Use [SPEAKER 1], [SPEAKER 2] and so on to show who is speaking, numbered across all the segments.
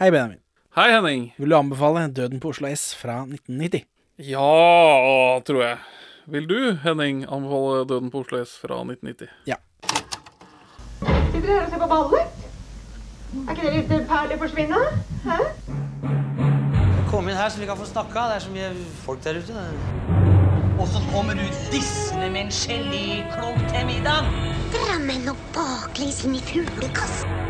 [SPEAKER 1] Hei, Benjamin.
[SPEAKER 2] Hei, Henning.
[SPEAKER 1] Vil du anbefale 'Døden på Oslo S' fra 1990?
[SPEAKER 2] Ja, tror jeg. Vil du, Henning, anbefale 'Døden på Oslo S' fra 1990?
[SPEAKER 1] Ja.
[SPEAKER 3] Sitter dere her og ser på ballet? Er ikke dere ute perler forsvinne? Hæ?
[SPEAKER 4] Kom inn her så vi kan få snakka. Det er så mye folk der ute. Og så kommer du dissende med en geléklump til middag.
[SPEAKER 5] Drammen og baklengs inn i fuglekassen.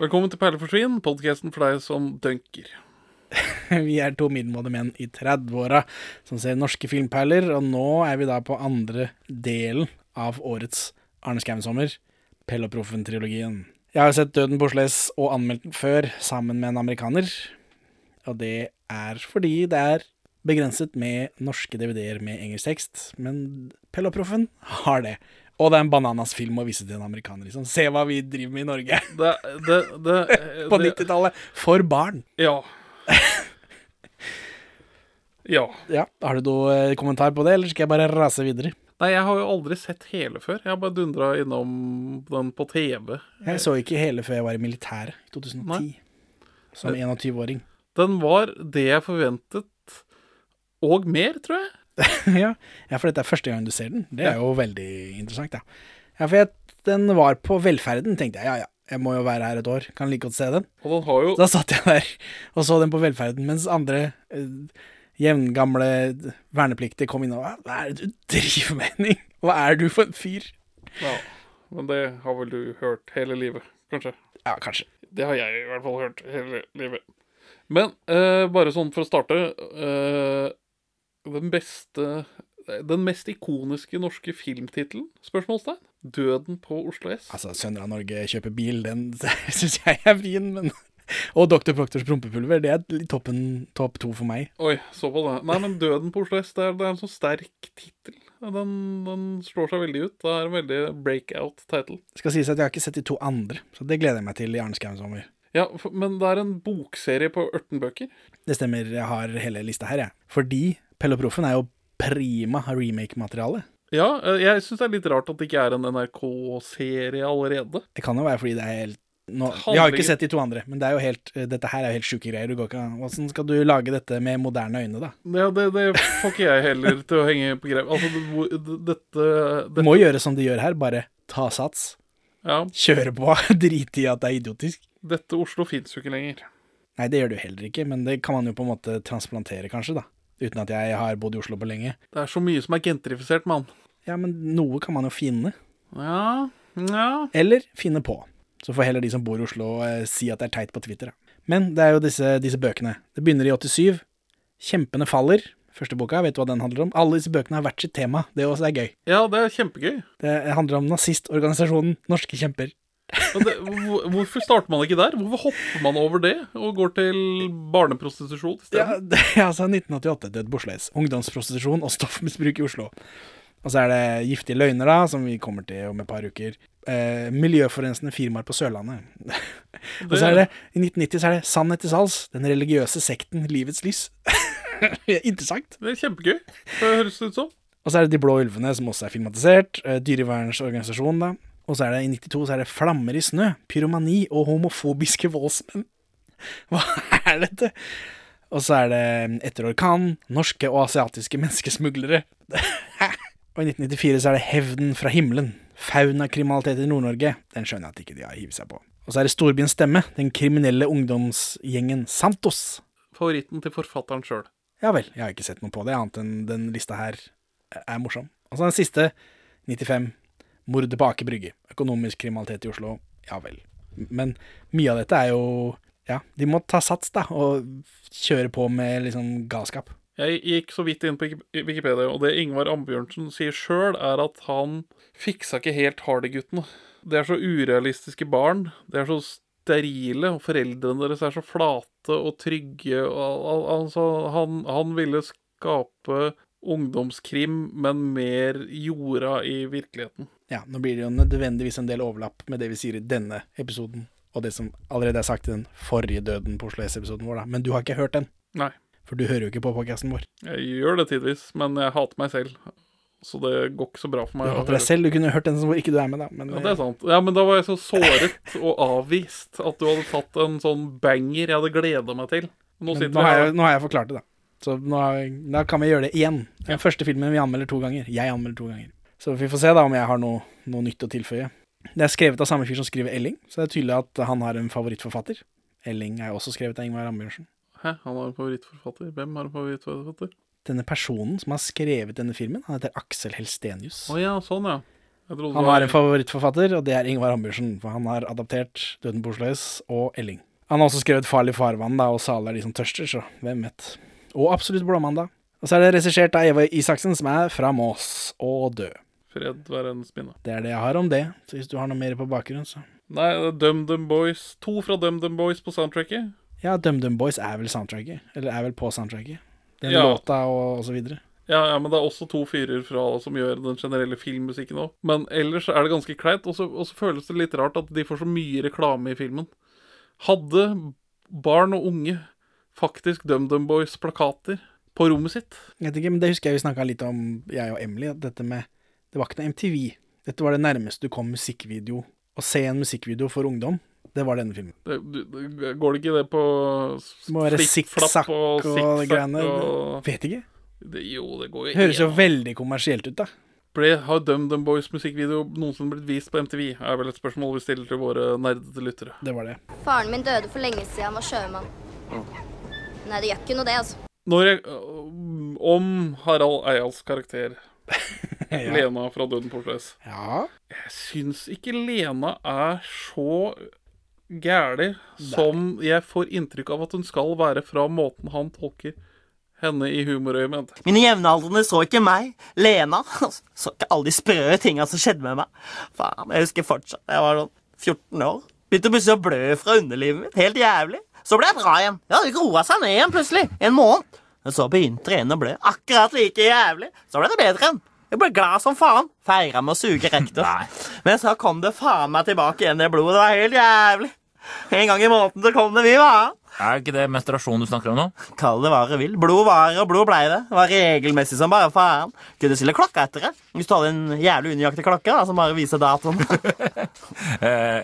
[SPEAKER 2] Velkommen til Perle for svin, podkasten for deg som dunker.
[SPEAKER 1] Vi er to middelmådige menn i 30-åra som ser norske filmperler, og nå er vi da på andre delen av årets Arne Skouen-sommer, Pell og Proffen-trilogien. Jeg har sett 'Døden på Oslo S' og anmeldt den før sammen med en amerikaner, og det er fordi det er begrenset med norske DVD-er med engelsk tekst, men Pell og Proffen har det. Og det er en bananas film å vise til en amerikaner, liksom. Se hva vi driver med i Norge
[SPEAKER 2] Det, det, det,
[SPEAKER 1] på
[SPEAKER 2] det-
[SPEAKER 1] 90-tallet! For barn!
[SPEAKER 2] Ja. ja.
[SPEAKER 1] Ja, Har du noe eh, kommentar på det, eller skal jeg bare rase videre?
[SPEAKER 2] Nei, jeg har jo aldri sett hele før. Jeg har bare dundra innom den på TV.
[SPEAKER 1] Jeg så ikke hele før jeg var i militæret i 2010.
[SPEAKER 2] Nei.
[SPEAKER 1] Som 21-åring.
[SPEAKER 2] Den var det jeg forventet, og mer, tror jeg.
[SPEAKER 1] ja. ja, for dette er første gang du ser den. Det er jo veldig interessant, ja. Ja, for jeg, den var på velferden, tenkte jeg. Ja, ja, jeg må jo være her et år. Kan like godt se den.
[SPEAKER 2] Og den har jo
[SPEAKER 1] Da satt jeg der og så den på velferden, mens andre eh, jevngamle vernepliktige kom inn og Hva hva er det du driver med, Henning? Hva er du for en fyr?
[SPEAKER 2] ja, Men det har vel du hørt hele livet, kanskje?
[SPEAKER 1] Ja, kanskje.
[SPEAKER 2] Det har jeg i hvert fall hørt hele livet. Men eh, bare sånn for å starte eh, Den beste Den mest ikoniske norske filmtittelen? Spørsmålstegn? 'Døden på Oslo S'.
[SPEAKER 1] Altså, Sønner av Norge kjøper bil, den syns jeg er vrien, men Og Dr. Proktors prompepulver, det er litt toppen, topp to for meg.
[SPEAKER 2] Oi, så på det. Nei, men 'Døden på Oslo S' det er, det er en så sterk tittel. Den, den slår seg veldig ut. Det er en veldig breakout-title.
[SPEAKER 1] Det skal sies at jeg har ikke sett de to andre, så det gleder jeg meg til i Arne Skouen sommer.
[SPEAKER 2] Ja, for, men det er en bokserie på 18 bøker.
[SPEAKER 1] Det stemmer, jeg har hele lista her, jeg. Fordi Pelle og Proffen er jo prima remake-materiale.
[SPEAKER 2] Ja, eh, jeg syns det er litt rart at det ikke er en NRK-serie allerede.
[SPEAKER 1] Det kan jo være fordi det er helt nå, Vi har jo ikke sett de to andre, men det er jo helt, eh, dette her er jo helt sjuke greier. Du går ikke an Åssen skal du lage dette med moderne øyne, da?
[SPEAKER 2] Ja, det, det får ikke jeg heller til å henge på greip. Altså, det, hvor- det- dette,
[SPEAKER 1] Du
[SPEAKER 2] dette
[SPEAKER 1] må gjøre som de gjør her, bare ta sats.
[SPEAKER 2] ja,
[SPEAKER 1] Kjøre på. Drite i at det er idiotisk.
[SPEAKER 2] Dette Oslo fins jo ikke lenger.
[SPEAKER 1] Nei, det gjør du heller ikke, men det kan man jo på en måte transplantere, kanskje, da. Uten at jeg har bodd i Oslo på lenge.
[SPEAKER 2] Det er så mye som er gentrifisert, mann.
[SPEAKER 1] Ja, men noe kan man jo finne.
[SPEAKER 2] Ja, ja
[SPEAKER 1] Eller finne på. Så får heller de som bor i Oslo eh, si at det er teit på Twitter, da. Men det er jo disse, disse bøkene. Det begynner i 87. 'Kjempene faller', første boka, vet du hva den handler om? Alle disse bøkene har hvert sitt tema, det også er gøy.
[SPEAKER 2] Ja, det er kjempegøy.
[SPEAKER 1] Det handler om nazistorganisasjonen Norske kjemper.
[SPEAKER 2] Og det, hvor- hvorfor starter man ikke der? Hvorfor hopper man over det og går til barneprostitusjon isteden?
[SPEAKER 1] Ja, det, altså 1988, Død Bosleis. Ungdomsprostitusjon og stoffmisbruk i Oslo. Og så er det Giftige løgner, da, som vi kommer til om et par uker. Eh, miljøforurensende firmaer på Sørlandet. og så er det, i 1990 så er det Sannhet til salgs. Den religiøse sekten Livets lys. Interessant.
[SPEAKER 2] Det er kjempegøy, det høres det ut som.
[SPEAKER 1] Og så er det De blå ulvene, som også er filmatisert. Eh, Dyrevernsorganisasjonen, da. Og så er det i 92 så er det Flammer i snø, pyromani og homofobiske voldsmenn. Hva er dette? Og så er det mm, Etter orkanen, norske og asiatiske menneskesmuglere. Hæ? og i 1994 så er det Hevden fra himmelen. Faunakriminalitet i Nord-Norge. Den skjønner jeg at ikke de har hivet seg på. Og så er det Storbyens stemme, den kriminelle ungdomsgjengen Santos.
[SPEAKER 2] Favoritten til forfatteren sjøl.
[SPEAKER 1] Ja vel, jeg har ikke sett noe på det, annet enn den lista her er morsom. Altså den siste, 95, mordet på Aker Brygge, økonomisk kriminalitet i Oslo, ja vel. Men mye av dette er jo, ja, de må ta sats da, og kjøre på med liksom galskap.
[SPEAKER 2] Jeg gikk så vidt inn på Wiki- Wikipedia, og det Ingvar Ambjørnsen sier sjøl, er at han fiksa ikke helt Hardy-guttene. De er så urealistiske barn. De er så sterile, og foreldrene deres er så flate og trygge. Og, al- al- altså, han, han ville skape ungdomskrim, men mer jorda i virkeligheten.
[SPEAKER 1] Ja, nå blir det jo nødvendigvis en del overlapp med det vi sier i denne episoden, og det som allerede er sagt i den forrige døden på Oslo S-episoden vår da, men du har ikke hørt den.
[SPEAKER 2] Nei.
[SPEAKER 1] For du hører jo ikke på podcasten vår.
[SPEAKER 2] Jeg gjør det tidvis, men jeg hater meg selv. Så det går ikke så bra for meg.
[SPEAKER 1] Du
[SPEAKER 2] å
[SPEAKER 1] hater deg
[SPEAKER 2] høre.
[SPEAKER 1] selv, du kunne hørt den som hvor ikke du er med, da. Men eh,
[SPEAKER 2] Ja, det er sant. Ja, men da var jeg så såret og avvist at du hadde tatt en sånn banger jeg hadde gleda meg til. Nå
[SPEAKER 1] men
[SPEAKER 2] sitter
[SPEAKER 1] nå, har
[SPEAKER 2] vi
[SPEAKER 1] jeg, nå har jeg forklart det, da. Så nå har, jeg- da kan vi gjøre det igjen. Det er Den første filmen vi anmelder to ganger. Jeg anmelder to ganger. Så vi får se da om jeg har noe, noe nytt å tilføye. Det er skrevet av samme fyr som skriver Elling, så det er tydelig at han har en favorittforfatter. Elling er jo også skrevet av Ingvar Ambjørnsen.
[SPEAKER 2] Hæ, han har en favorittforfatter. Hvem har en favorittforfatter?
[SPEAKER 1] Denne personen som har skrevet denne filmen, han heter Aksel Helstenius.
[SPEAKER 2] Å ja, sånn, ja. Jeg trodde
[SPEAKER 1] Han
[SPEAKER 2] det var-
[SPEAKER 1] har en favorittforfatter, og det er Ingvar Ambjørnsen. For han har adaptert 'Døden på Oslo S' og 'Elling'. Han har også skrevet 'Farlig farvann' da, og 'Sale er de som tørster', så hvem vet. Og 'Absolutt blåmandag'. Og så er det regissert av Eva Isaksen, som er fra Mås og død.
[SPEAKER 2] Fred være en spinne.
[SPEAKER 1] Det er det jeg har om det. Så hvis du har noe mer på bakgrunnen, så
[SPEAKER 2] Nei, det er DumDum Boys. To fra DumDum Boys på soundtracket.
[SPEAKER 1] Ja, DumDum Boys er vel soundtracket? Eller er vel på soundtracket? Den
[SPEAKER 2] Ja.
[SPEAKER 1] låta og, og så videre.
[SPEAKER 2] Ja, ja, men det er også to fyrer fra som gjør den generelle filmmusikken òg. Men ellers er det ganske kleint, og så og så føles det litt rart at de får så mye reklame i filmen. Hadde barn og unge faktisk DumDum Boys-plakater på rommet sitt?
[SPEAKER 1] Jeg vet ikke, men det husker jeg vi snakka litt om, jeg og Emily, at dette med Det var ikke noe MTV. Dette var det nærmeste du kom musikkvideo. Å se en musikkvideo for ungdom, det var denne filmen.
[SPEAKER 2] Det, du, det- går det ikke det på
[SPEAKER 1] Det må være
[SPEAKER 2] flipp, flapp
[SPEAKER 1] sikksakk og, de greiene.
[SPEAKER 2] og-
[SPEAKER 1] Vet ikke.
[SPEAKER 2] det, Jo, det går
[SPEAKER 1] Det høres
[SPEAKER 2] jo
[SPEAKER 1] jo veldig kommersielt ut, da.
[SPEAKER 2] Ble, Har DumDum Boys musikkvideo noensinne blitt vist på MTV? er vel et spørsmål vi stiller til våre nerdete lyttere.
[SPEAKER 1] Det var det.
[SPEAKER 6] Faren min døde for lenge siden, han var sjømann. Nei, det gjør ikke noe det, altså.
[SPEAKER 2] Når jeg, øh, om Harald Eials karakter,
[SPEAKER 1] Ja.
[SPEAKER 2] Lena fra Døden på Oslo S.
[SPEAKER 1] ja.
[SPEAKER 2] Jeg syns ikke Lena er så gæli som jeg får inntrykk av at hun skal være fra måten han tolker henne i humorøyemed.
[SPEAKER 7] Mine jevnaldrende så ikke meg. Lena så ikke alle de sprø tinga som skjedde med meg. Faen, Jeg husker fortsatt. Jeg var sånn 14 år. Begynte plutselig å blø fra underlivet mitt. Helt jævlig. Så ble jeg bra igjen. Ja, Det roa seg ned igjen plutselig. En måned. Men så begynte det igjen å blø. Akkurat like jævlig. Så ble det bedre igjen. Jeg ble glad som faen. Feira med å suge rektus. Men så kom det faen meg tilbake igjen, det blodet. Det var helt jævlig. En gang i måneden så kom det mye annet.
[SPEAKER 8] Er ikke det menstruasjon du snakker om nå?
[SPEAKER 7] Kall det hva du vil. Blod var og blod blei det. Det var regelmessig som bare faen. Kunne stille klokka etter det. Hvis du hadde en jævlig unøyaktig klokke da, som bare viser datoen.
[SPEAKER 8] Eh,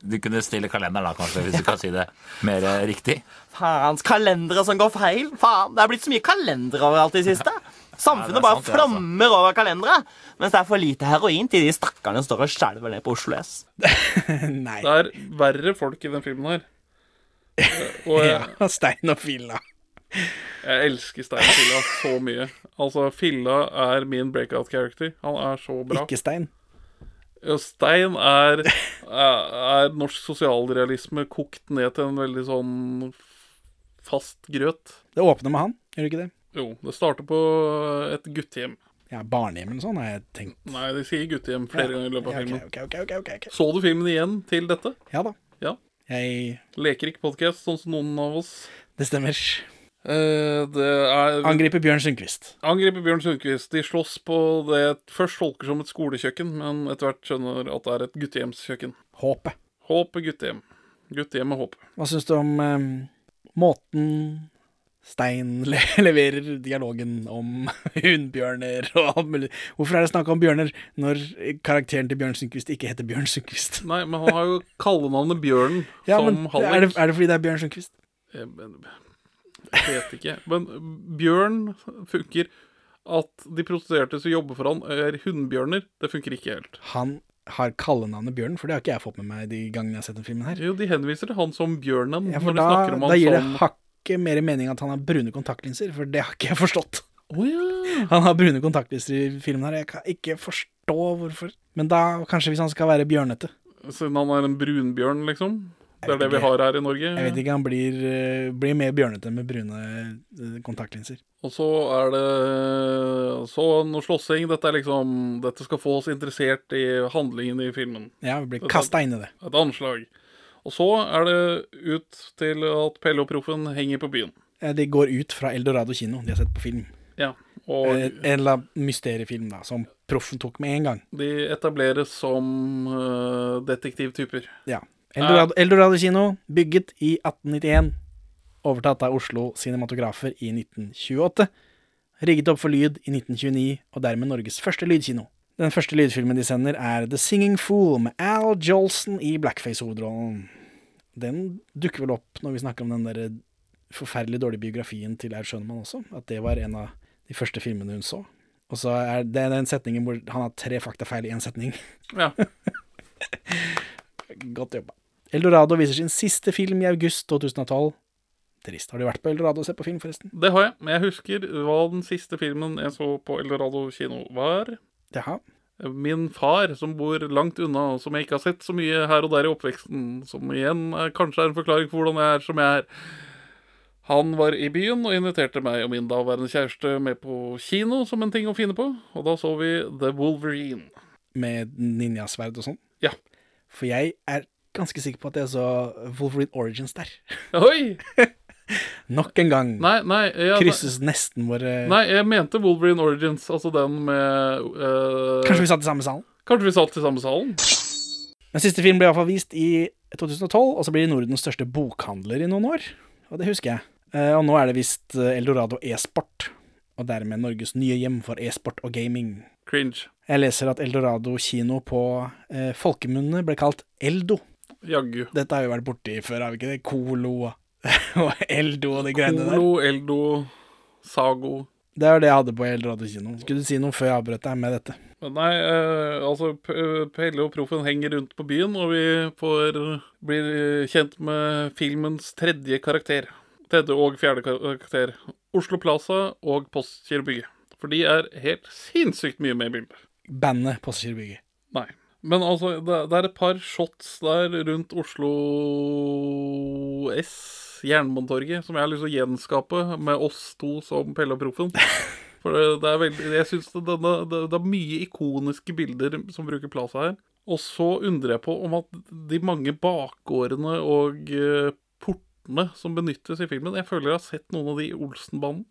[SPEAKER 8] du kunne stille kalender da, kanskje, hvis du kan si det mer eh, riktig.
[SPEAKER 7] Faens kalendere som går feil. Faen, Det er blitt så mye kalendere overalt i det siste.
[SPEAKER 8] Ja, det
[SPEAKER 7] Samfunnet
[SPEAKER 8] er
[SPEAKER 7] bare
[SPEAKER 8] sant, det, altså.
[SPEAKER 7] flommer over kalendere. Mens det er for lite heroin til de stakkarene som står og skjelver ned på Oslo S.
[SPEAKER 1] Nei.
[SPEAKER 2] Det er verre folk i den filmen her. Og jeg,
[SPEAKER 1] Ja, Stein og filla.
[SPEAKER 2] jeg elsker Stein Filla så mye. Altså, Filla er min breakout character. Han er så bra.
[SPEAKER 1] Ikke stein.
[SPEAKER 2] Ja, Stein er, er er norsk sosialrealisme kokt ned til en veldig sånn fast grøt.
[SPEAKER 1] Det åpner med han, gjør det ikke det?
[SPEAKER 2] Jo, det starter på et guttehjem.
[SPEAKER 1] Ja, barnehjem eller sånn har jeg tenkt.
[SPEAKER 2] Nei, de sier guttehjem flere ganger i løpet av
[SPEAKER 1] Ja, ok,
[SPEAKER 2] filmen.
[SPEAKER 1] ok, ok, ok, ok, ok.
[SPEAKER 2] Så du filmen igjen til dette?
[SPEAKER 1] Ja da.
[SPEAKER 2] Ja.
[SPEAKER 1] Jeg
[SPEAKER 2] Leker ikke podkast, sånn som noen av oss.
[SPEAKER 1] Det stemmer.
[SPEAKER 2] Eh, det er
[SPEAKER 1] Angriper Bjørn Sundquist.
[SPEAKER 2] Angriper Bjørn Sundquist. De slåss på det jeg først tolker som et skolekjøkken, men etter hvert skjønner at det er et guttehjemskjøkken.
[SPEAKER 1] Håpet.
[SPEAKER 2] Håpet guttehjem. Guttehjem med håp.
[SPEAKER 1] Hva syns du om eh, måten Stein le leverer dialogen om hundbjørner og alt mulig? Hvorfor er det snakk om bjørner når karakteren til Bjørn Sundquist ikke heter Bjørn Sundquist?
[SPEAKER 2] Nei, men han har jo kallenavnet Bjørnen
[SPEAKER 1] Ja, men
[SPEAKER 2] som Hallik.
[SPEAKER 1] er det, er det fordi det er Bjørn Sundquist?
[SPEAKER 2] Eh, men- Jeg vet ikke. Men bjørn funker. At de prostituerte som jobber for han, er hunnbjørner, det funker ikke helt.
[SPEAKER 1] Han har kallenavnet Bjørn, for det har ikke jeg fått med meg de gangene jeg har sett den filmen her.
[SPEAKER 2] Jo, de henviser til han som bjørnen
[SPEAKER 1] Ja,
[SPEAKER 2] når
[SPEAKER 1] for
[SPEAKER 2] de snakker
[SPEAKER 1] da,
[SPEAKER 2] om
[SPEAKER 1] da
[SPEAKER 2] han
[SPEAKER 1] gir det
[SPEAKER 2] som
[SPEAKER 1] hakket mer mening at han har brune kontaktlinser, for det har ikke jeg forstått.
[SPEAKER 2] Å ja.
[SPEAKER 1] Han har brune kontaktlinser i filmen her, jeg kan ikke forstå hvorfor. Men da, kanskje hvis han skal være bjørnete.
[SPEAKER 2] Siden han er en brunbjørn, liksom? Det
[SPEAKER 1] vet
[SPEAKER 2] er det vi
[SPEAKER 1] ikke.
[SPEAKER 2] har her i Norge.
[SPEAKER 1] Jeg vet ikke, han blir, eh, blir mer bjørnete med brune eh, kontaktlinser.
[SPEAKER 2] Og så er det så noe slåssing. Dette er liksom Dette skal få oss interessert i handlingen i filmen.
[SPEAKER 1] Ja, vi blir
[SPEAKER 2] Det er
[SPEAKER 1] kasta inn i det.
[SPEAKER 2] Et anslag. Og så er det ut til at Pelle og Proffen henger på byen.
[SPEAKER 1] Eh, De går ut fra Eldorado kino, de har sett på film.
[SPEAKER 2] Ja.
[SPEAKER 1] Eh,
[SPEAKER 2] Og
[SPEAKER 1] En eller annen mysteriefilm da, som proffen tok med en gang.
[SPEAKER 2] De etableres som eh, detektivtyper.
[SPEAKER 1] Ja. Eldorado, Eldorado kino, bygget i 1891. overtatt av Oslo Cinematografer i 1928. Rigget opp for lyd i 1929, og dermed Norges første lydkino. Den første lydfilmen de sender, er The Singing Fool med Al Jolson i blackface-hovedrollen. Den dukker vel opp når vi snakker om den der forferdelig dårlige biografien til Aud Schønemann også, at det var en av de første filmene hun så. Og så er det den setningen hvor han har tre faktafeil i én setning.
[SPEAKER 2] Ja.
[SPEAKER 1] Godt jobba. Eldorado viser sin siste film i august 2012. Trist. Har du vært på Eldorado og sett på film, forresten?
[SPEAKER 2] Det har jeg, men jeg husker hva den siste filmen jeg så på Eldorado kino var.
[SPEAKER 1] Jaha.
[SPEAKER 2] Min far, som bor langt unna, og som jeg ikke har sett så mye her og der i oppveksten, som igjen er, kanskje er en forklaring for hvordan jeg er som jeg er. Han var i byen og inviterte meg og min daværende kjæreste med på kino som en ting å finne på, og da så vi The Wolverine.
[SPEAKER 1] Med ninjasverd og sånn?
[SPEAKER 2] Ja.
[SPEAKER 1] For jeg er ganske sikker på at jeg så Wolverine Origins der.
[SPEAKER 2] Oi!
[SPEAKER 1] Nok en gang
[SPEAKER 2] Nei, nei, ja, nei,
[SPEAKER 1] krysses nesten eh, våre
[SPEAKER 2] nei jeg mente Wolverine Origins, altså den med eh,
[SPEAKER 1] Kanskje vi satt i samme salen?
[SPEAKER 2] Kanskje vi satt i samme salen?
[SPEAKER 1] Men siste film ble iallfall vist i 2012, og så blir Nordens største bokhandler i noen år. Og det husker jeg. Eh, Og nå er det visst eh, Eldorado e-sport, og dermed Norges nye hjem for e-sport og gaming.
[SPEAKER 2] Cringe.
[SPEAKER 1] Jeg leser at Eldorado kino på eh, folkemunne ble kalt Eldo.
[SPEAKER 2] Jaggu.
[SPEAKER 1] Dette har vi vært borti før, har vi ikke det? Colo og- og Eldo og de greiene der.
[SPEAKER 2] Olo, Eldo, Sago
[SPEAKER 1] Det er jo det jeg hadde på Eldorado kino. Skulle du si noe før jeg avbrøt deg med dette?
[SPEAKER 2] Men Nei, eh, altså P- eh, Pelle og Proffen henger rundt på byen, og vi får, blir eh, kjent med filmens tredje karakter. Tredje og fjerde kar- karakter. Oslo Plaza og Postkirkebygget. For de er helt sinnssykt mye med i bildet.
[SPEAKER 1] Bandet Passasjerbygget.
[SPEAKER 2] Nei. Men altså, det, det er et par shots der rundt Oslo S, Jernbanetorget, som jeg har lyst til å gjenskape med oss to som Pelle og Proffen. For det, det er veldig Jeg syns det, det, det, det er mye ikoniske bilder som bruker plass her. Og så undrer jeg på om at de mange bakgårdene og eh, portene som benyttes i filmen Jeg føler jeg har sett noen av de i Olsenbanden.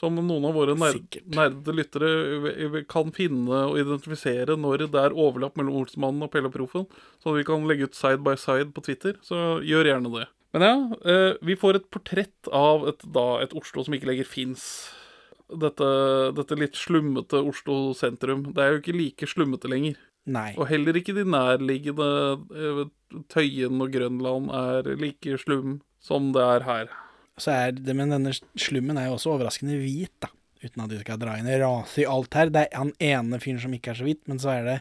[SPEAKER 2] Som noen av våre ner
[SPEAKER 1] Sikkert.
[SPEAKER 2] nerdete lyttere v- v- kan finne og identifisere når det er overlapp mellom Olsenmannen og Pelle og Proffen. Så vi kan legge ut side by side på Twitter. Så gjør gjerne det. Men ja, eh, vi får et portrett av et, da, et Oslo som ikke lenger fins dette, dette litt slummete Oslo sentrum. Det er jo ikke like slummete lenger.
[SPEAKER 1] Nei.
[SPEAKER 2] Og heller ikke de nærliggende eh, Tøyen og Grønland er like slum som det er her.
[SPEAKER 1] Så er det, men denne slummen er jo også overraskende hvit, da. Uten at de skal dra inn i rase i alt her. Det er han ene fyren som ikke er så hvit, men så er det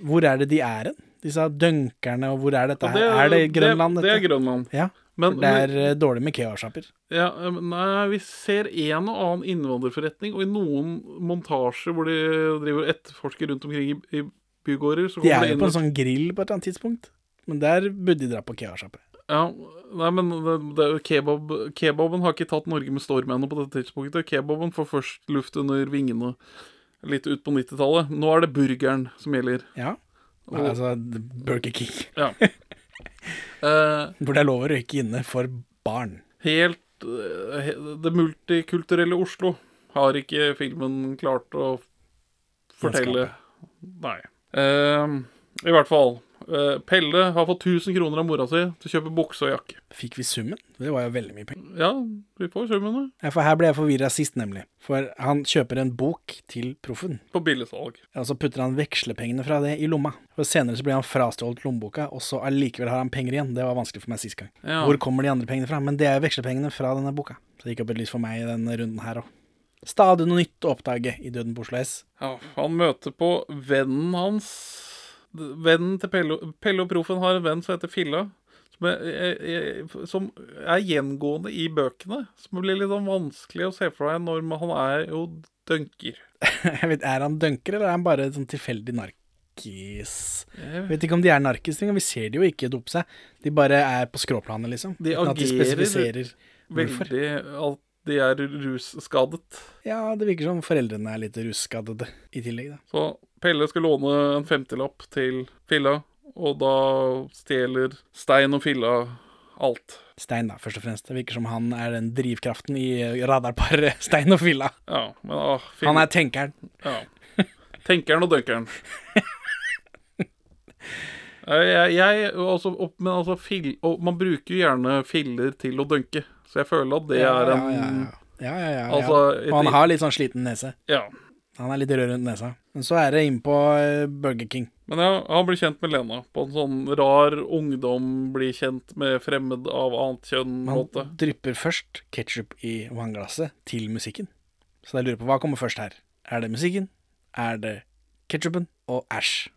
[SPEAKER 1] Hvor er det de er hen? Disse dunkerne, og hvor er dette
[SPEAKER 2] Og
[SPEAKER 1] her? er det Grønland,
[SPEAKER 2] Det,
[SPEAKER 1] dette?
[SPEAKER 2] det er Grønland.
[SPEAKER 1] ja.
[SPEAKER 2] Men,
[SPEAKER 1] det er eh, dårlig med keosjapper.
[SPEAKER 2] ja, eh, nei, vi ser en og annen innvandrerforretning, og i noen montasjer hvor de driver og etterforsker rundt omkring i, i bygårder, så
[SPEAKER 1] De
[SPEAKER 2] kommer
[SPEAKER 1] er
[SPEAKER 2] det
[SPEAKER 1] jo
[SPEAKER 2] inn
[SPEAKER 1] på en sånn grill på et eller annet tidspunkt, men der burde de dra på keosjappe.
[SPEAKER 2] Ja, nei, men det, det er jo kebab, kebaben har ikke tatt Norge med storm ennå på dette tidspunktet. Kebaben får først luft under vingene litt ut på 90-tallet. Nå er det burgeren som gjelder.
[SPEAKER 1] Ja.
[SPEAKER 2] Og-
[SPEAKER 1] Nei, altså Burger King,
[SPEAKER 2] Ja. Eh,
[SPEAKER 1] hvor det er lov å røyke inne for barn.
[SPEAKER 2] helt eh, he- Det multikulturelle Oslo har ikke filmen klart å fortelle. Nei. Eh, I hvert fall. eh, Pelle har fått 1000 kroner av mora si til å kjøpe bukse og jakke.
[SPEAKER 1] Fikk vi summen? Det var jo veldig mye penger.
[SPEAKER 2] Ja, vi får summen, da.
[SPEAKER 1] Ja, for her ble jeg forvirra sist, nemlig. For han kjøper en bok til proffen.
[SPEAKER 2] På billigsalg.
[SPEAKER 1] Og så putter han vekslepengene fra det i lomma. For senere så blir han frastjålet lommeboka, og så allikevel har han penger igjen. Det var vanskelig for meg sist gang.
[SPEAKER 2] Ja.
[SPEAKER 1] Hvor kommer de andre pengene fra? Men det er vekslepengene fra denne boka. Så det gikk opp et lys for meg i denne runden her òg. Stadig noe nytt å oppdage i Døden på Oslo S.
[SPEAKER 2] Ja, han møter på vennen hans. Vennen til Pelle, Pelle og Proffen har en venn som heter Filla. Som er, er- er- som er gjengående i bøkene. Som blir litt sånn vanskelig å se for seg når man, han er jo dunker.
[SPEAKER 1] Jeg vet, Er han dunker, eller er han bare sånn tilfeldig narkis?
[SPEAKER 2] Jeg
[SPEAKER 1] Jeg vet ikke om de er narkis engang. Vi ser de jo ikke dope seg. De bare er på skråplanet, liksom.
[SPEAKER 2] De
[SPEAKER 1] Uten at de
[SPEAKER 2] agerer-
[SPEAKER 1] spesifiserer hvorfor.
[SPEAKER 2] Veldig at de er russkadet.
[SPEAKER 1] Ja, det virker som foreldrene er litt russkadede i tillegg, da.
[SPEAKER 2] Så Pelle skal låne en femtilapp til Filla, og da stjeler Stein og Filla alt.
[SPEAKER 1] Stein, da, først og fremst. Det virker som han er den drivkraften i radarparet Stein og Filla.
[SPEAKER 2] Ja, men ah, Filla-
[SPEAKER 1] Han er tenkeren.
[SPEAKER 2] Ja. Tenkeren og dunkeren. Jeg, jeg, altså, opp, men altså, fill, og man bruker jo gjerne filler til å dunke. Så jeg føler at det
[SPEAKER 1] Ja,
[SPEAKER 2] er
[SPEAKER 1] ja,
[SPEAKER 2] en
[SPEAKER 1] ja, ja. Ja, ja, ja, ja.
[SPEAKER 2] Altså, et-
[SPEAKER 1] Og han har litt sånn sliten nese.
[SPEAKER 2] ja.
[SPEAKER 1] Han er litt rød rundt nesa. Men så er det innpå Burger King.
[SPEAKER 2] Men ja, han blir kjent med Lena på en sånn rar ungdom blir kjent med fremmed av annet
[SPEAKER 1] Man
[SPEAKER 2] kjønn-måte.
[SPEAKER 1] drypper først ketsjup i vannglasset til musikken. Så jeg lurer på hva kommer først her. Er det musikken? Er det ketsjupen? Og æsj.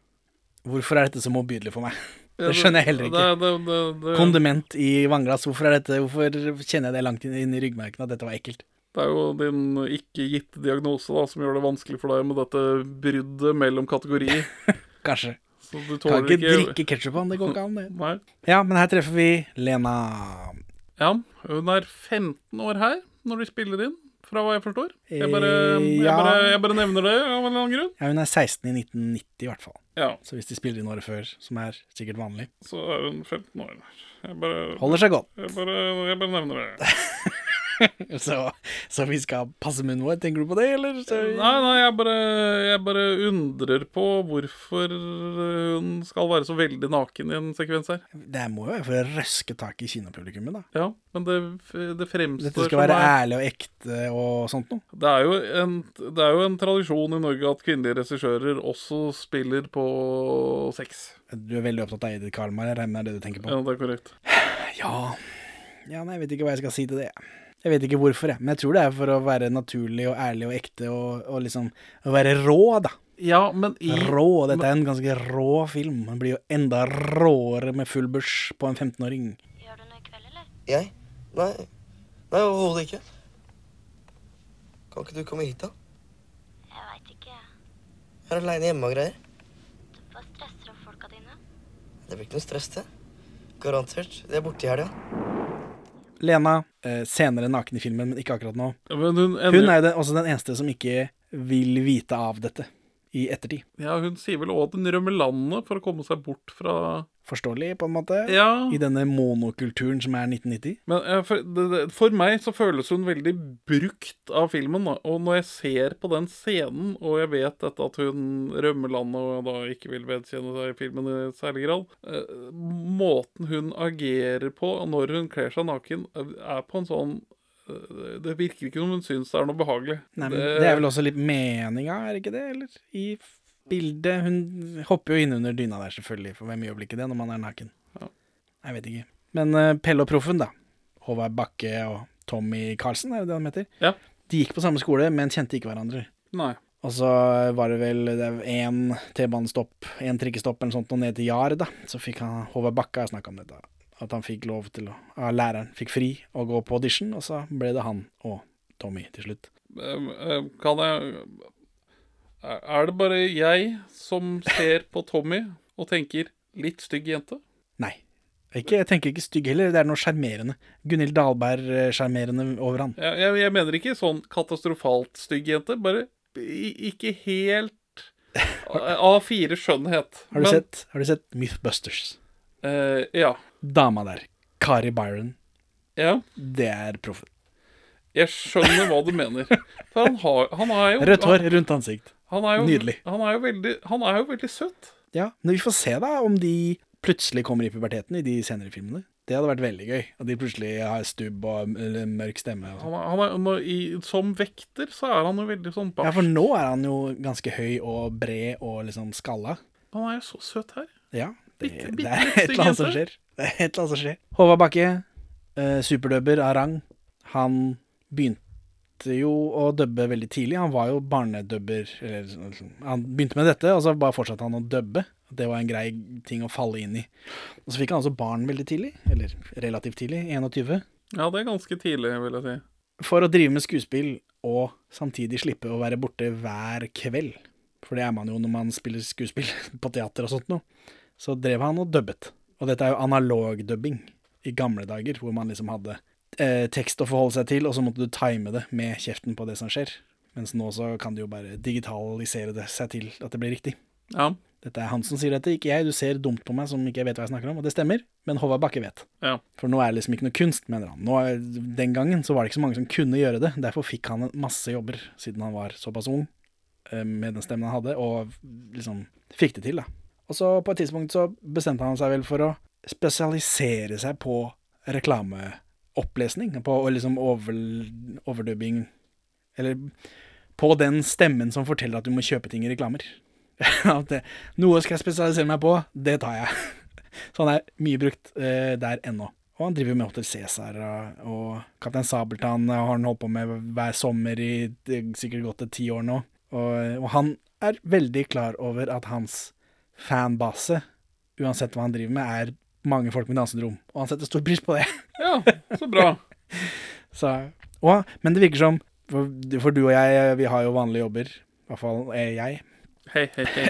[SPEAKER 1] Hvorfor er dette så motbydelig for meg? Det skjønner jeg heller ikke.
[SPEAKER 2] Det, det, det, det,
[SPEAKER 1] Kondiment i vannglass, hvorfor, er dette, hvorfor kjenner jeg det langt inn, inn i ryggmerken at dette var ekkelt?
[SPEAKER 2] det er jo din ikke gitte diagnose da, som gjør det vanskelig for deg med dette bruddet mellom kategorier.
[SPEAKER 1] Kanskje.
[SPEAKER 2] Så du
[SPEAKER 1] Kan
[SPEAKER 2] tåler
[SPEAKER 1] ikke
[SPEAKER 2] ikke
[SPEAKER 1] drikke ketsjup av den, det går ikke an, det.
[SPEAKER 2] Nei.
[SPEAKER 1] Ja, men her treffer vi Lena.
[SPEAKER 2] Ja, hun er 15 år her når de spiller inn, fra hva jeg forstår. Jeg bare,
[SPEAKER 1] Eh,
[SPEAKER 2] jeg
[SPEAKER 1] ja.
[SPEAKER 2] bare, jeg bare nevner det av en eller annen grunn.
[SPEAKER 1] Ja, hun er 16 i 1990 i hvert fall.
[SPEAKER 2] Ja,
[SPEAKER 1] Så hvis de spiller inn året før, som er sikkert vanlig,
[SPEAKER 2] så er hun 15 år. Jeg bare,
[SPEAKER 1] holder seg godt.
[SPEAKER 2] jeg bare, jeg bare nevner det.
[SPEAKER 1] Så, så vi skal passe munnen vår, tenker du på det, eller? Så,
[SPEAKER 2] Nei, nei, jeg bare, jeg bare undrer på hvorfor eh, hun skal være så veldig naken i en sekvens her.
[SPEAKER 1] Det må jo være for å røske tak i kinopublikummet, da.
[SPEAKER 2] Ja, men det, det fremstår
[SPEAKER 1] Dette skal
[SPEAKER 2] som
[SPEAKER 1] være
[SPEAKER 2] er-
[SPEAKER 1] ærlig og ekte og sånt noe.
[SPEAKER 2] Det er, jo en, det er jo en tradisjon i Norge at kvinnelige regissører også spiller på sex.
[SPEAKER 1] Du er veldig opptatt av Edith Karlmar, jeg regner med det er det du tenker på?
[SPEAKER 2] Ja, det er korrekt.
[SPEAKER 1] Ja. ja nei, jeg vet ikke hva jeg skal si til det. jeg. Jeg vet ikke hvorfor, jeg. Men jeg tror det er for å være naturlig og ærlig og ekte og, og liksom å være rå, da.
[SPEAKER 2] Ja, men i
[SPEAKER 1] Rå. Dette er en ganske rå film. Den blir jo enda råere med full bush på en 15-åring.
[SPEAKER 9] Gjør du noe i kveld, eller?
[SPEAKER 4] Jeg? Nei, nei overhodet ikke. Kan ikke du komme hit, da?
[SPEAKER 9] Jeg veit ikke.
[SPEAKER 4] Jeg er aleine hjemme og greier.
[SPEAKER 9] Hva stresser om folka dine?
[SPEAKER 4] Det blir ikke noe stress, det. Garantert. De er borte i helga.
[SPEAKER 1] Lena, eh, senere naken i filmen, men ikke akkurat nå.
[SPEAKER 2] men hun, ender-
[SPEAKER 1] Hun er jo den, også den eneste som ikke vil vite av dette i ettertid.
[SPEAKER 2] ja, hun sier vel òg at hun rømmer landet for å komme seg bort fra
[SPEAKER 1] Forståelig, på en måte.
[SPEAKER 2] Ja,
[SPEAKER 1] I denne monokulturen som er 1990.
[SPEAKER 2] men eh, for, det, det, for meg så føles hun veldig brukt av filmen. Da. Og når jeg ser på den scenen, og jeg vet dette at hun rømmer landet og da ikke vil vedkjenne seg filmen i særlig grad eh, Måten hun agerer på når hun kler seg naken, er på en sånn eh, Det virker ikke som hun syns det er noe behagelig.
[SPEAKER 1] Nei, men det er vel også litt meninga, er det ikke det? Eller? I f- bildet Hun hopper jo innunder dyna der, selvfølgelig, for hvem gjør vel ikke det når man er naken?
[SPEAKER 2] Ja.
[SPEAKER 1] Jeg vet ikke. Men eh, Pelle og Proffen, da. Håvard Bakke og Tommy Karlsen, er jo det han heter.
[SPEAKER 2] Ja.
[SPEAKER 1] De gikk på samme skole, men kjente ikke hverandre.
[SPEAKER 2] Nei.
[SPEAKER 1] Og så var det vel én T-banestopp, én trikkestopp eller sånt, og ned til Jar, da. Så fikk han Håvard Bakke har snakka om dette. At han fikk lov til å av Læreren fikk fri og gå på audition, og så ble det han og Tommy til slutt.
[SPEAKER 2] Um, um, Kan jeg Er er det bare jeg som ser på Tommy og tenker 'litt stygg jente'?
[SPEAKER 1] Nei. Ikke, jeg tenker ikke stygg heller, det er noe sjarmerende. Gunhild Dahlberg-sjarmerende over han.
[SPEAKER 2] Jeg, jeg, jeg mener ikke sånn katastrofalt stygg jente, bare i- ikke helt A4 skjønnhet.
[SPEAKER 1] Har du, sett, har du sett Mythbusters?
[SPEAKER 2] eh, ja.
[SPEAKER 1] Dama der, Kari Byron,
[SPEAKER 2] ja.
[SPEAKER 1] det er proffen.
[SPEAKER 2] Jeg skjønner hva du mener. For han har, han er jo
[SPEAKER 1] Rødt hår rundt ansikt.
[SPEAKER 2] Han er jo,
[SPEAKER 1] Nydelig.
[SPEAKER 2] Han er jo veldig, han er jo veldig søt.
[SPEAKER 1] Ja, men vi får se da om de plutselig kommer i puberteten i de senere filmene. Det hadde vært veldig gøy. At de plutselig har stubb og m- eller mørk stemme. Og sånn. sånt.
[SPEAKER 2] Han er, han er, når- i, som vekter så er han jo veldig sånn
[SPEAKER 1] ja, for
[SPEAKER 2] barsk.
[SPEAKER 1] nå er han jo ganske høy og bred og liksom skalla.
[SPEAKER 2] Han er jo så søt her.
[SPEAKER 1] Ja, det,
[SPEAKER 2] Bitte- bitte
[SPEAKER 1] det er
[SPEAKER 2] litt
[SPEAKER 1] et eller annet
[SPEAKER 2] stygg
[SPEAKER 1] som
[SPEAKER 2] jente.
[SPEAKER 1] skjer. Det er et eller annet som skjer. Håvard Bakke, eh, superdubber av rang, han begynte jo å dubbe veldig tidlig. Han var jo barnedubber eller, sånn- Han begynte med dette, og så bare fortsatte han å dubbe. Det var en grei ting å falle inn i. Og så fikk han altså barn veldig tidlig, eller relativt tidlig, 21,
[SPEAKER 2] Ja, det er ganske tidlig, vil jeg si.
[SPEAKER 1] for å drive med skuespill og samtidig slippe å være borte hver kveld. For det er man jo når man spiller skuespill på teater og sånt noe. Så drev han og dubbet. Og dette er jo analogdubbing i gamle dager, hvor man liksom hadde eh, tekst å forholde seg til, og så måtte du time det med kjeften på det som skjer. Mens nå så kan du jo bare digitalisere det seg til at det blir riktig.
[SPEAKER 2] Ja.
[SPEAKER 1] Dette er han som sier dette, ikke jeg. Du ser dumt på meg som ikke jeg vet hva jeg snakker om, og det stemmer, men Håvard Bakke vet.
[SPEAKER 2] Ja.
[SPEAKER 1] For nå er det liksom ikke noe kunst, mener han. Nå er, den gangen så var det ikke så mange som kunne gjøre det, derfor fikk han en masse jobber, siden han var såpass ung, eh, med den stemmen han hadde, og liksom fikk det til, da. Og så på et tidspunkt så bestemte han seg vel for å spesialisere seg på reklamearbeid. opplesning, på og liksom over, overdubbing Eller på den stemmen som forteller at du må kjøpe ting i reklamer. At det, noe skal jeg spesialisere meg på, det tar jeg. Så han er mye brukt eh, der ennå. Og han driver jo med Hotel Cæsar og, og Kaptein Sabeltann har han holdt på med hver sommer i det er sikkert godt til ti år nå. Og, og han er veldig klar over at hans fanbase, uansett hva han driver med, er mange folk med dansedrom. Og han setter stor pris på det.
[SPEAKER 2] Ja, så bra.
[SPEAKER 1] Så, og, men det virker som for, for du og jeg, vi har jo vanlige jobber. I hvert fall er jeg.
[SPEAKER 2] Hei, hei, hei.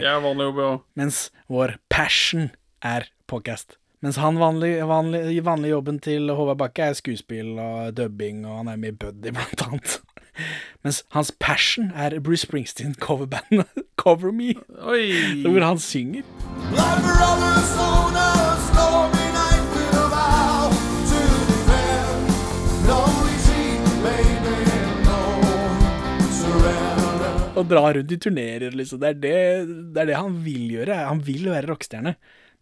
[SPEAKER 2] Jeg er vanlig jobb, og
[SPEAKER 1] Mens vår passion er podcast. Mens han vanlig, vanlig, vanlig jobben til Håvard Bakke er skuespill og dubbing, og han er med i Buddy, blant annet. Mens hans passion er Bruce Springsteen coverbandet Cover Me,
[SPEAKER 2] Oi!
[SPEAKER 1] hvor han synger. Og drar rundt i turnerer, liksom. Det er det, det er det han vil gjøre. Han vil være rockestjerne.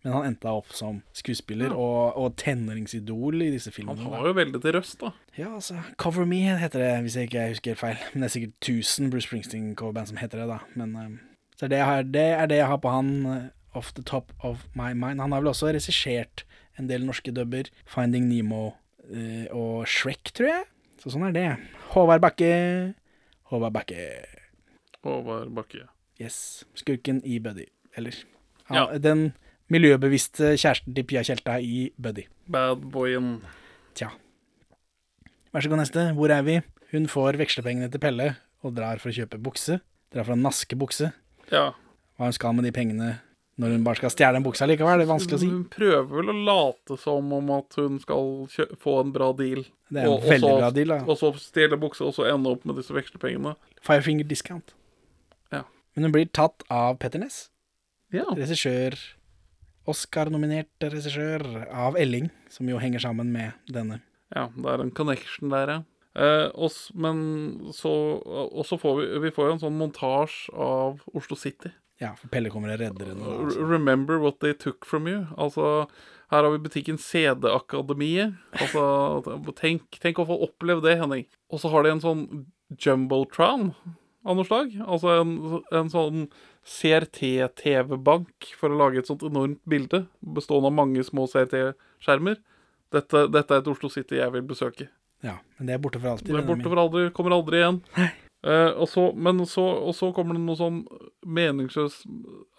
[SPEAKER 1] Men han endte opp som skuespiller og, og tenåringsidol i disse filmene.
[SPEAKER 2] Han har jo veldig til røst, da.
[SPEAKER 1] Ja, altså, Cover Me heter det, hvis jeg ikke husker helt feil. Men det er sikkert 1000 Bruce Springsteen-coverband som heter det, da. Men eh, så det, jeg har, det er det jeg har på han eh, off the top of my mind. Han har vel også regissert en del norske dubber. Finding Nemo eh, og Shrek, tror jeg. Så sånn er det. Håvard Bakke. Håvard Bakke.
[SPEAKER 2] Håvard Bakke.
[SPEAKER 1] Yes. Skurken i Buddy. Eller ja.
[SPEAKER 2] Ja.
[SPEAKER 1] den miljøbevisste kjæresten til Pia Tjelta i Buddy.
[SPEAKER 2] Bad boyen.
[SPEAKER 1] Tja. Vær så god, neste. Hvor er vi? Hun får vekslepengene til Pelle og drar for å kjøpe bukse. Drar for å naske bukse.
[SPEAKER 2] Ja.
[SPEAKER 1] Hva hun skal med de pengene når hun bare skal stjele en bukse likevel, det er vanskelig å si.
[SPEAKER 2] Hun prøver vel å late som om at hun skal kjø få en bra deal.
[SPEAKER 1] Det er en veldig
[SPEAKER 2] så,
[SPEAKER 1] bra deal, da.
[SPEAKER 2] Og så stjele bukse, og så ende opp med disse vekslepengene.
[SPEAKER 1] Five finger discount.
[SPEAKER 2] Ja.
[SPEAKER 1] Men hun blir tatt av Petter Ness,
[SPEAKER 2] Ja.
[SPEAKER 1] regissør Oscar-nominert regissør av Elling, som jo henger sammen med denne.
[SPEAKER 2] Ja, det er en connection der, ja. Eh, oss, men så Og så får vi, vi får jo en sånn montasje av Oslo City.
[SPEAKER 1] Ja, for Pelle kommer og redder henne.
[SPEAKER 2] R-
[SPEAKER 1] altså.
[SPEAKER 2] Remember what they took from you. Altså, her har vi butikken CD-akademiet. Altså, tenk, tenk å få oppleve det, Henning. Og så har de en sånn jumbotron av noe slag. Altså en, en sånn CRT-TV-bank for å lage et sånt enormt bilde bestående av mange små CRT-skjermer. Dette, dette er et Oslo City jeg vil besøke.
[SPEAKER 1] Ja, men det er borte for alltid.
[SPEAKER 2] Det er
[SPEAKER 1] vennene
[SPEAKER 2] borte
[SPEAKER 1] mine.
[SPEAKER 2] for aldri, kommer aldri igjen. Eh, og, så, men så, og så kommer det noe sånn meningsløs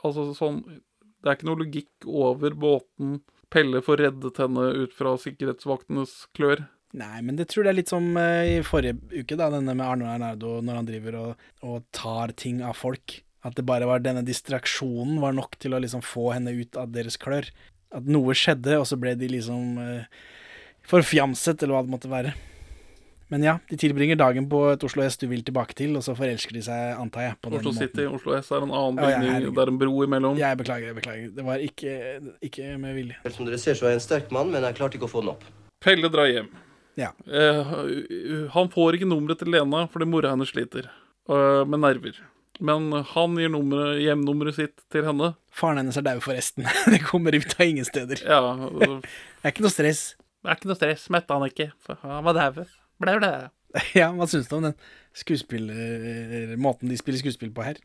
[SPEAKER 2] Altså sånn Det er ikke noe logikk over båten Pelle får reddet henne ut fra sikkerhetsvaktenes klør.
[SPEAKER 1] Nei, men det tror jeg er litt som eh, i forrige uke, da, denne med Arne Arnardo, når han driver og, og tar ting av folk. At det bare var denne distraksjonen var nok til å liksom få henne ut av deres klør. At noe skjedde, og så ble de liksom eh, forfjamset, eller hva det måtte være. Men ja, de tilbringer dagen på et Oslo S du vil tilbake til, og så forelsker de seg, antar jeg, på den
[SPEAKER 2] Oslo
[SPEAKER 1] måten.
[SPEAKER 2] City, Oslo S er en annen
[SPEAKER 1] Ja, ja,
[SPEAKER 2] bygning,
[SPEAKER 1] herregud.
[SPEAKER 2] det er en bro imellom.
[SPEAKER 1] Jeg beklager, jeg beklager. Det var ikke, ikke med vilje.
[SPEAKER 4] Som dere ser, så er jeg en sterk mann, men jeg klarte ikke å få den opp.
[SPEAKER 2] Pelle drar hjem.
[SPEAKER 1] Ja.
[SPEAKER 2] Eh, han får ikke nummeret til Lena fordi mora hennes sliter eh, med nerver. Men han gir nummeret, hjemnummeret sitt til henne.
[SPEAKER 1] Faren hennes er dau, forresten. det kommer ut av ingen steder.
[SPEAKER 2] Ja,
[SPEAKER 1] Det er ikke noe stress.
[SPEAKER 2] Det er ikke noe stress, møtte han ikke. for Han var daud. Blæ, blæ.
[SPEAKER 1] Ja, hva syns du om den skuespiller... måten de spiller skuespill på her?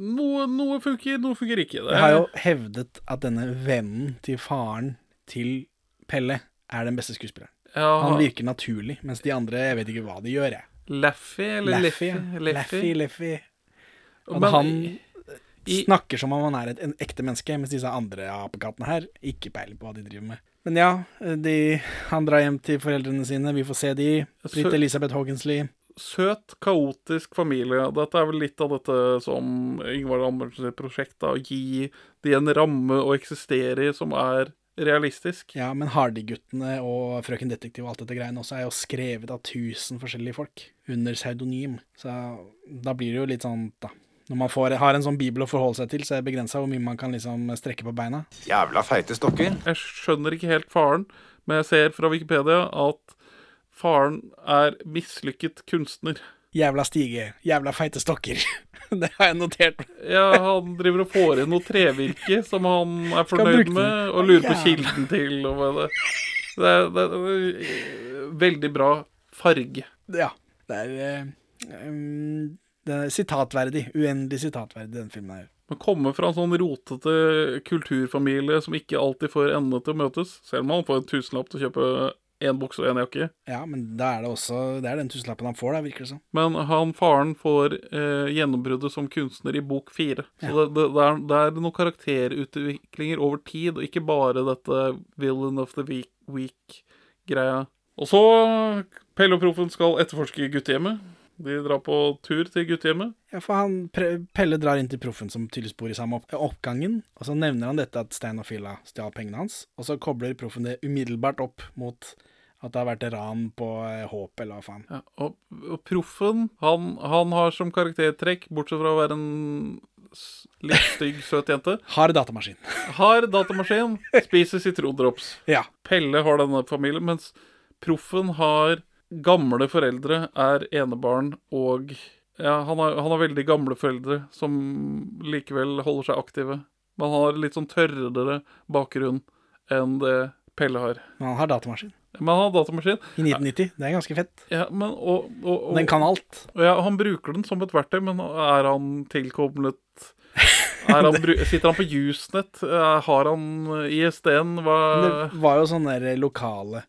[SPEAKER 2] Noe, noe funker, noe funker ikke. Det
[SPEAKER 1] Jeg har jo hevdet at denne vennen til faren til Pelle er den beste skuespilleren.
[SPEAKER 2] ja,
[SPEAKER 1] Han virker naturlig, mens de andre, jeg vet ikke hva de gjør, jeg.
[SPEAKER 2] Laffy eller Leffy?
[SPEAKER 1] Laffy, Laffy, Laffy.
[SPEAKER 2] Leffy.
[SPEAKER 1] Men
[SPEAKER 2] Men-
[SPEAKER 1] han
[SPEAKER 2] i-
[SPEAKER 1] snakker som om han er et en ekte menneske, mens disse andre apekattene her ikke peiler på hva de driver med. Men ja, de, han drar hjem til foreldrene sine, vi får se de. Britt Elisabeth Haagensley.
[SPEAKER 2] Søt, kaotisk familie. Dette er vel litt av dette som Ingvar Amundsen sitt prosjekt, da. Å gi de en ramme å eksistere i som er realistisk.
[SPEAKER 1] Ja, men Hardy-guttene og Frøken Detektiv og alt dette greiene også er jo skrevet av tusen forskjellige folk under pseudonym. Så da blir det jo litt sånn, da. Når man får, har en sånn bibel å forholde seg til, så er det begrensa hvor mye man kan liksom strekke på beina.
[SPEAKER 10] Jævla feite stokker.
[SPEAKER 2] Jeg skjønner ikke helt faren, men jeg ser fra Wikipedia at faren er mislykket kunstner.
[SPEAKER 1] Jævla stige, jævla feite stokker. det har jeg notert.
[SPEAKER 2] Ja, han driver og får inn noe trevirke som han er
[SPEAKER 1] bruke
[SPEAKER 2] fornøyd
[SPEAKER 1] den.
[SPEAKER 2] med, og lurer på
[SPEAKER 1] Jævla.
[SPEAKER 2] kilden til. Og hva det. Så det er, det er eh, veldig bra farge.
[SPEAKER 1] Ja. Det er, eh, um, det er sitatverdig. Uendelig sitatverdig, den filmen her.
[SPEAKER 2] Man kommer fra en sånn rotete kulturfamilie som ikke alltid får endene til å møtes, selv om man får en tusenlapp til å kjøpe én bukse og én jakke.
[SPEAKER 1] Ja, men da er det også Det er den tusenlappen han får, da, virker det som.
[SPEAKER 2] Men han faren får eh, gjennombruddet som kunstner i bok fire. Så det, det, det, er, det er noen karakterutviklinger over tid, og ikke bare dette villain of the week- week-greia. og så Pelle og Proffen skal etterforske guttehjemmet. De drar på tur til guttehjemmet.
[SPEAKER 1] Ja, for han, Pre- Pelle drar inn til proffen som tydeligvis bor i samme opp oppgangen, og så nevner han dette at Stein og Filla stjal pengene hans, og så kobler proffen det umiddelbart opp mot at det har vært ran på eh, Håp, eller hva faen.
[SPEAKER 2] Ja, og, og Proffen, han, han har som karaktertrekk, bortsett fra å være en s- litt stygg, søt jente,
[SPEAKER 1] Har datamaskin.
[SPEAKER 2] har datamaskin, spiser sitrondrops.
[SPEAKER 1] ja.
[SPEAKER 2] Pelle har denne familien, mens proffen har gamle foreldre, er enebarn og ja, han, har, han har veldig gamle foreldre som likevel holder seg aktive. Men han har litt sånn tørrere bakgrunn enn det Pelle har.
[SPEAKER 1] Men han har datamaskin.
[SPEAKER 2] Men han har datamaskin.
[SPEAKER 1] I 1990. Det er ganske fett.
[SPEAKER 2] Ja, men, og, og, og,
[SPEAKER 1] Den kan alt.
[SPEAKER 2] og ja, han bruker den som et verktøy, men er han tilkoblet er han, bru- Sitter han på Usenet? Er- Har han ISD-en? Hva
[SPEAKER 1] Det var jo sånne der lokale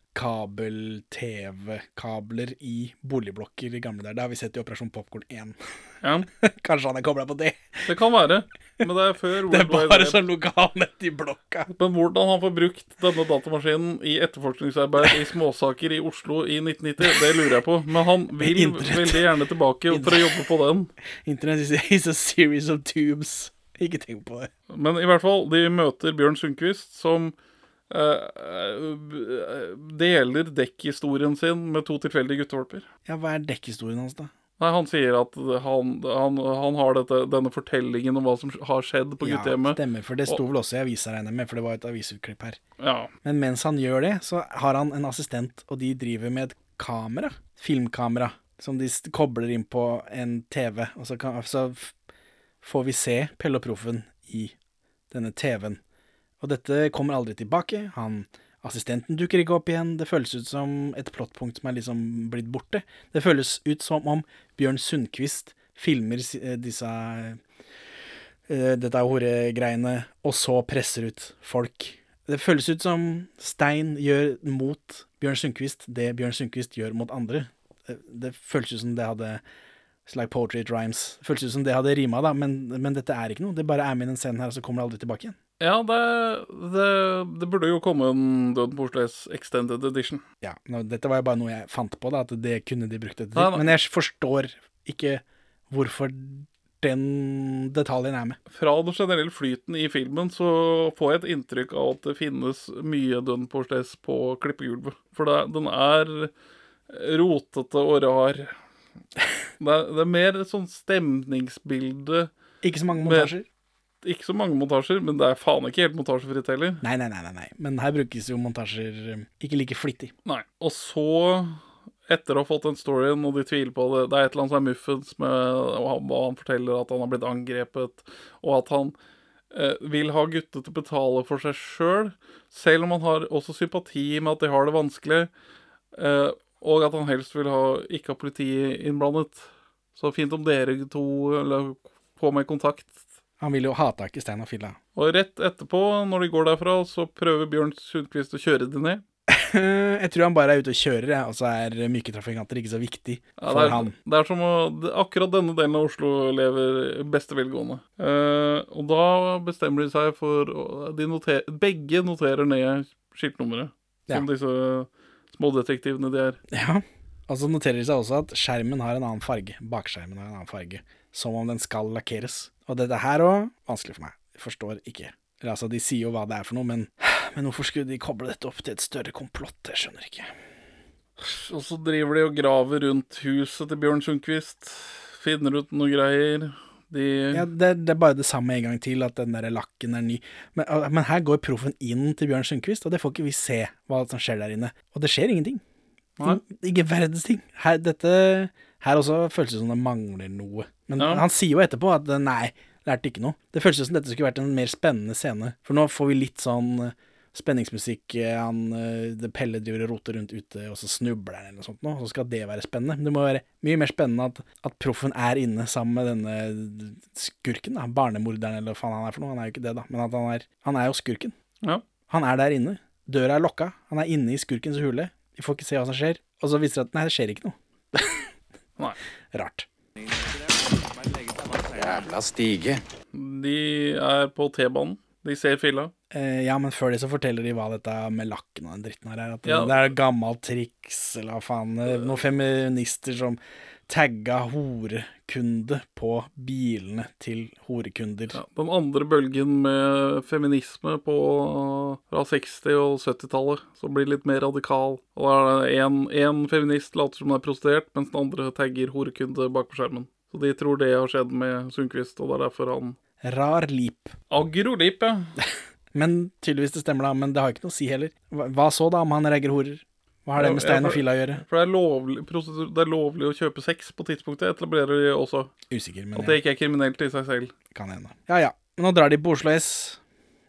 [SPEAKER 1] kabel-TV-kabler i boligblokker i gamle der. Det har vi sett i Operasjon Popkorn 1.
[SPEAKER 2] ja.
[SPEAKER 1] Kanskje han er kobla på det?
[SPEAKER 2] Det kan være. Men det er før
[SPEAKER 1] Det er
[SPEAKER 2] World Wide
[SPEAKER 1] bare
[SPEAKER 2] Web.
[SPEAKER 1] sånn lokalnett i blokka.
[SPEAKER 2] Men hvordan han får brukt denne datamaskinen i etterforskningsarbeid i småsaker i Oslo i 1990, det lurer jeg på. Men han vil
[SPEAKER 1] Internett.
[SPEAKER 2] veldig gjerne tilbake for å jobbe på den.
[SPEAKER 1] Internett is, is a series of tubes. Ikke tenk på det.
[SPEAKER 2] Men i hvert fall, de møter Bjørn Sundquist, som eh, eh, deler dekkhistorien sin med to tilfeldige guttevalper.
[SPEAKER 1] Ja, hva er dekkhistorien hans, da?
[SPEAKER 2] Nei, Han sier at han, han, han har dette, denne fortellingen om hva som har skjedd på
[SPEAKER 1] Ja,
[SPEAKER 2] guttehjemmet.
[SPEAKER 1] stemmer, for det sto vel også i avisa, regner jeg med, for det var et avisutklipp her.
[SPEAKER 2] Ja,
[SPEAKER 1] Men mens han gjør det, så har han en assistent, og de driver med et kamera. Filmkamera. Som de st- kobler inn på en TV, og så, kan, så f- får vi se Pelle og Proffen i denne TV-en. Og dette kommer aldri tilbake. Han, assistenten dukker ikke opp igjen. Det føles ut som et plottpunkt som er liksom blitt borte. Det føles ut som om Bjørn Sundquist filmer si- eh, disse eh, dette er horegreiene, og så presser ut folk. Det føles ut som Stein gjør mot Bjørn Sundquist det Bjørn Sundquist gjør mot andre. Eh, Det føles ut som det hadde It's like poetry it rhymes. Det føles ut som det hadde rima, da, men, men dette er ikke noe. Det bare er med i den scenen her, og så kommer det aldri tilbake igjen.
[SPEAKER 2] ja det, det, det burde jo komme en Døden på Oslo S extended edition.
[SPEAKER 1] Ja, nå, Dette var jo bare noe jeg fant på, da, at det kunne de brukt dette
[SPEAKER 2] Nei,
[SPEAKER 1] til.
[SPEAKER 2] nei.
[SPEAKER 1] Men jeg forstår ikke hvorfor den detaljen er med.
[SPEAKER 2] fra den generelle flyten i filmen så får jeg et inntrykk av at det finnes mye Dunn Porstes på klippegulvet. For det, den er rotete og rar. Det er, det er mer et sånn stemningsbilde.
[SPEAKER 1] Ikke så mange
[SPEAKER 2] Men-
[SPEAKER 1] montasjer.
[SPEAKER 2] Ikke så mange montasjer, men det er faen ikke helt montasjefritt heller.
[SPEAKER 1] Nei, nei, nei, nei, nei. Men her brukes jo montasjer eh, ikke like flittig.
[SPEAKER 2] Nei. Og så, etter å ha fått den storyen, og de tviler på det Det er et eller annet som er muffens med og han, og han forteller at han har blitt angrepet, og at han eh, vil ha guttene til å betale for seg sjøl, selv om han har også sympati med at de har det vanskelig, eh, og at han helst vil ha, ikke ha politiet innblandet. Så fint om dere to eller, får meg i kontakt.
[SPEAKER 1] Han vil jo ha tak i Stein og Filla.
[SPEAKER 2] Og rett etterpå, når de går derfra, så prøver Bjørn Sundquist å kjøre de ned.
[SPEAKER 1] Jeg tror han bare er ute og kjører, jeg, og så er myke trafikanter ikke så viktig
[SPEAKER 2] Ja,
[SPEAKER 1] for
[SPEAKER 2] det, er,
[SPEAKER 1] han.
[SPEAKER 2] det er som å det- Akkurat denne delen av Oslo lever beste velgående. Eh, og da bestemmer de seg for å- de noter, Begge noterer ned skiltnummeret.
[SPEAKER 1] Ja.
[SPEAKER 2] Som disse smådetektivene de er.
[SPEAKER 1] Ja. Og så noterer de seg også at skjermen har en annen farge. Bakskjermen har en annen farge. Som om den skal lakkeres. Og dette her òg vanskelig for meg. Jeg Forstår ikke. Eller altså, de sier jo hva det er for noe, men, men hvorfor skulle de koble dette opp til et større komplott? Jeg skjønner ikke.
[SPEAKER 2] Og så driver de og graver rundt huset til Bjørn Sundquist. Finner ut noe greier. De
[SPEAKER 1] Ja, det, det er bare det samme en gang til, at den der lakken er ny. Men, men her går proffen inn til Bjørn Sundquist, og det får ikke vi se hva som skjer der inne. Og det skjer ingenting.
[SPEAKER 2] Nei.
[SPEAKER 1] In- Ikke verdens ting. Her, dette, her også føles det som det mangler noe. Men
[SPEAKER 2] Ja.
[SPEAKER 1] han sier jo etterpå at eh, nei, lærte ikke noe. Det føles jo som dette skulle vært en mer spennende scene, for nå får vi litt sånn eh, spenningsmusikk. eh, Han, eh, det Pelle driver og roter rundt ute, og så snubler han eller noe sånt. Nå, så skal det være spennende. Men det må være mye mer spennende at, at proffen er inne sammen med denne skurken. Da. Barnemorderen eller hva faen han er for noe. Han er jo ikke det, da. Men at han er, han er jo skurken.
[SPEAKER 2] Ja.
[SPEAKER 1] Han er der inne. Døra er lokka. Han er inne i skurkens hule. Vi får ikke se hva som skjer. Og så viser det at nei, det skjer ikke noe.
[SPEAKER 2] Nei.
[SPEAKER 1] Rart.
[SPEAKER 2] De er på T-banen. De ser filla.
[SPEAKER 1] Eh, ja, men før det så forteller de hva dette med lakken og den dritten her er. At
[SPEAKER 2] Ja.
[SPEAKER 1] det er et gammelt triks, eller hva faen. eh, Noen feminister som tagga horekunde på bilene til horekunder.
[SPEAKER 2] Ja, den andre bølgen med feminisme på, fra 60- og 70-tallet, som blir litt mer radikal. Og da er det én feminist later som hun er prostituert, mens den andre tagger horekunde bak på skjermen. Så de tror det har skjedd med Sundquist, og det er derfor han
[SPEAKER 1] Rar lip.
[SPEAKER 2] Agrolip, ja.
[SPEAKER 1] Men tydeligvis det stemmer, da. Men det har ikke noe å si heller. Hva, hva så, da, om han ragger horer? Hva har det
[SPEAKER 2] Ja,
[SPEAKER 1] med
[SPEAKER 2] ja,
[SPEAKER 1] stein og
[SPEAKER 2] for-
[SPEAKER 1] fila å gjøre?
[SPEAKER 2] For det er, lovlig, prostitu- det er lovlig å kjøpe sex på tidspunktet, etablerer de også.
[SPEAKER 1] Usikker, men
[SPEAKER 2] At
[SPEAKER 1] ja,
[SPEAKER 2] det ikke er kriminelt i seg selv.
[SPEAKER 1] kan hende. Ja ja. Men nå drar de på Oslo S.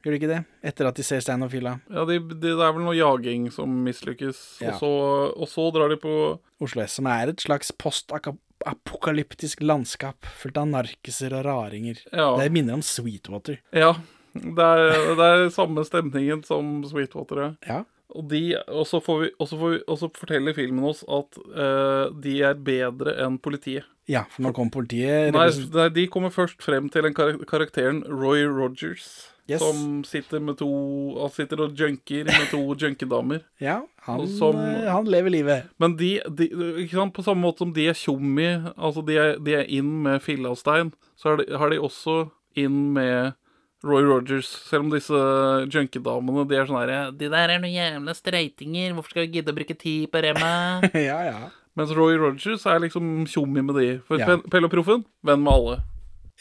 [SPEAKER 1] Gjør de ikke det? Etter at de ser stein og fila.
[SPEAKER 2] Ja, de, de, Det er vel noe jaging som mislykkes,
[SPEAKER 1] Ja.
[SPEAKER 2] og, så, og så drar de på
[SPEAKER 1] Oslo S, som er et slags postapokalyptisk landskap fullt av narkiser og raringer.
[SPEAKER 2] Ja.
[SPEAKER 1] Det minner om Sweetwater.
[SPEAKER 2] Ja. Det er, det er samme stemningen som Sweetwater er.
[SPEAKER 1] Ja.
[SPEAKER 2] Og, de, og, så får vi, og, så får vi, og så forteller filmen oss at eh, de er bedre enn politiet.
[SPEAKER 1] Ja, for nå kom politiet
[SPEAKER 2] Nei, nei, de kommer først frem til en kar karakteren Roy Rogers.
[SPEAKER 1] Yes.
[SPEAKER 2] Som sitter, med to, han sitter og junker med to junkedamer.
[SPEAKER 1] Ja, han,
[SPEAKER 2] Og som-
[SPEAKER 1] eh, han lever livet.
[SPEAKER 2] Men de, de ikke sant? på samme måte som de er tjommi, altså de er, de er inn med fille og stein, så er de, har de også inn med Roy Rogers. Selv om disse junkedamene, de er sånn herre De der er noen jævla streitinger, hvorfor skal vi gidde å bruke tid på remma?
[SPEAKER 1] ja, ja.
[SPEAKER 2] Mens Roy Rogers er liksom tjommi med de. For
[SPEAKER 1] Ja.
[SPEAKER 2] Pe- Pelle og Proffen, venn med alle.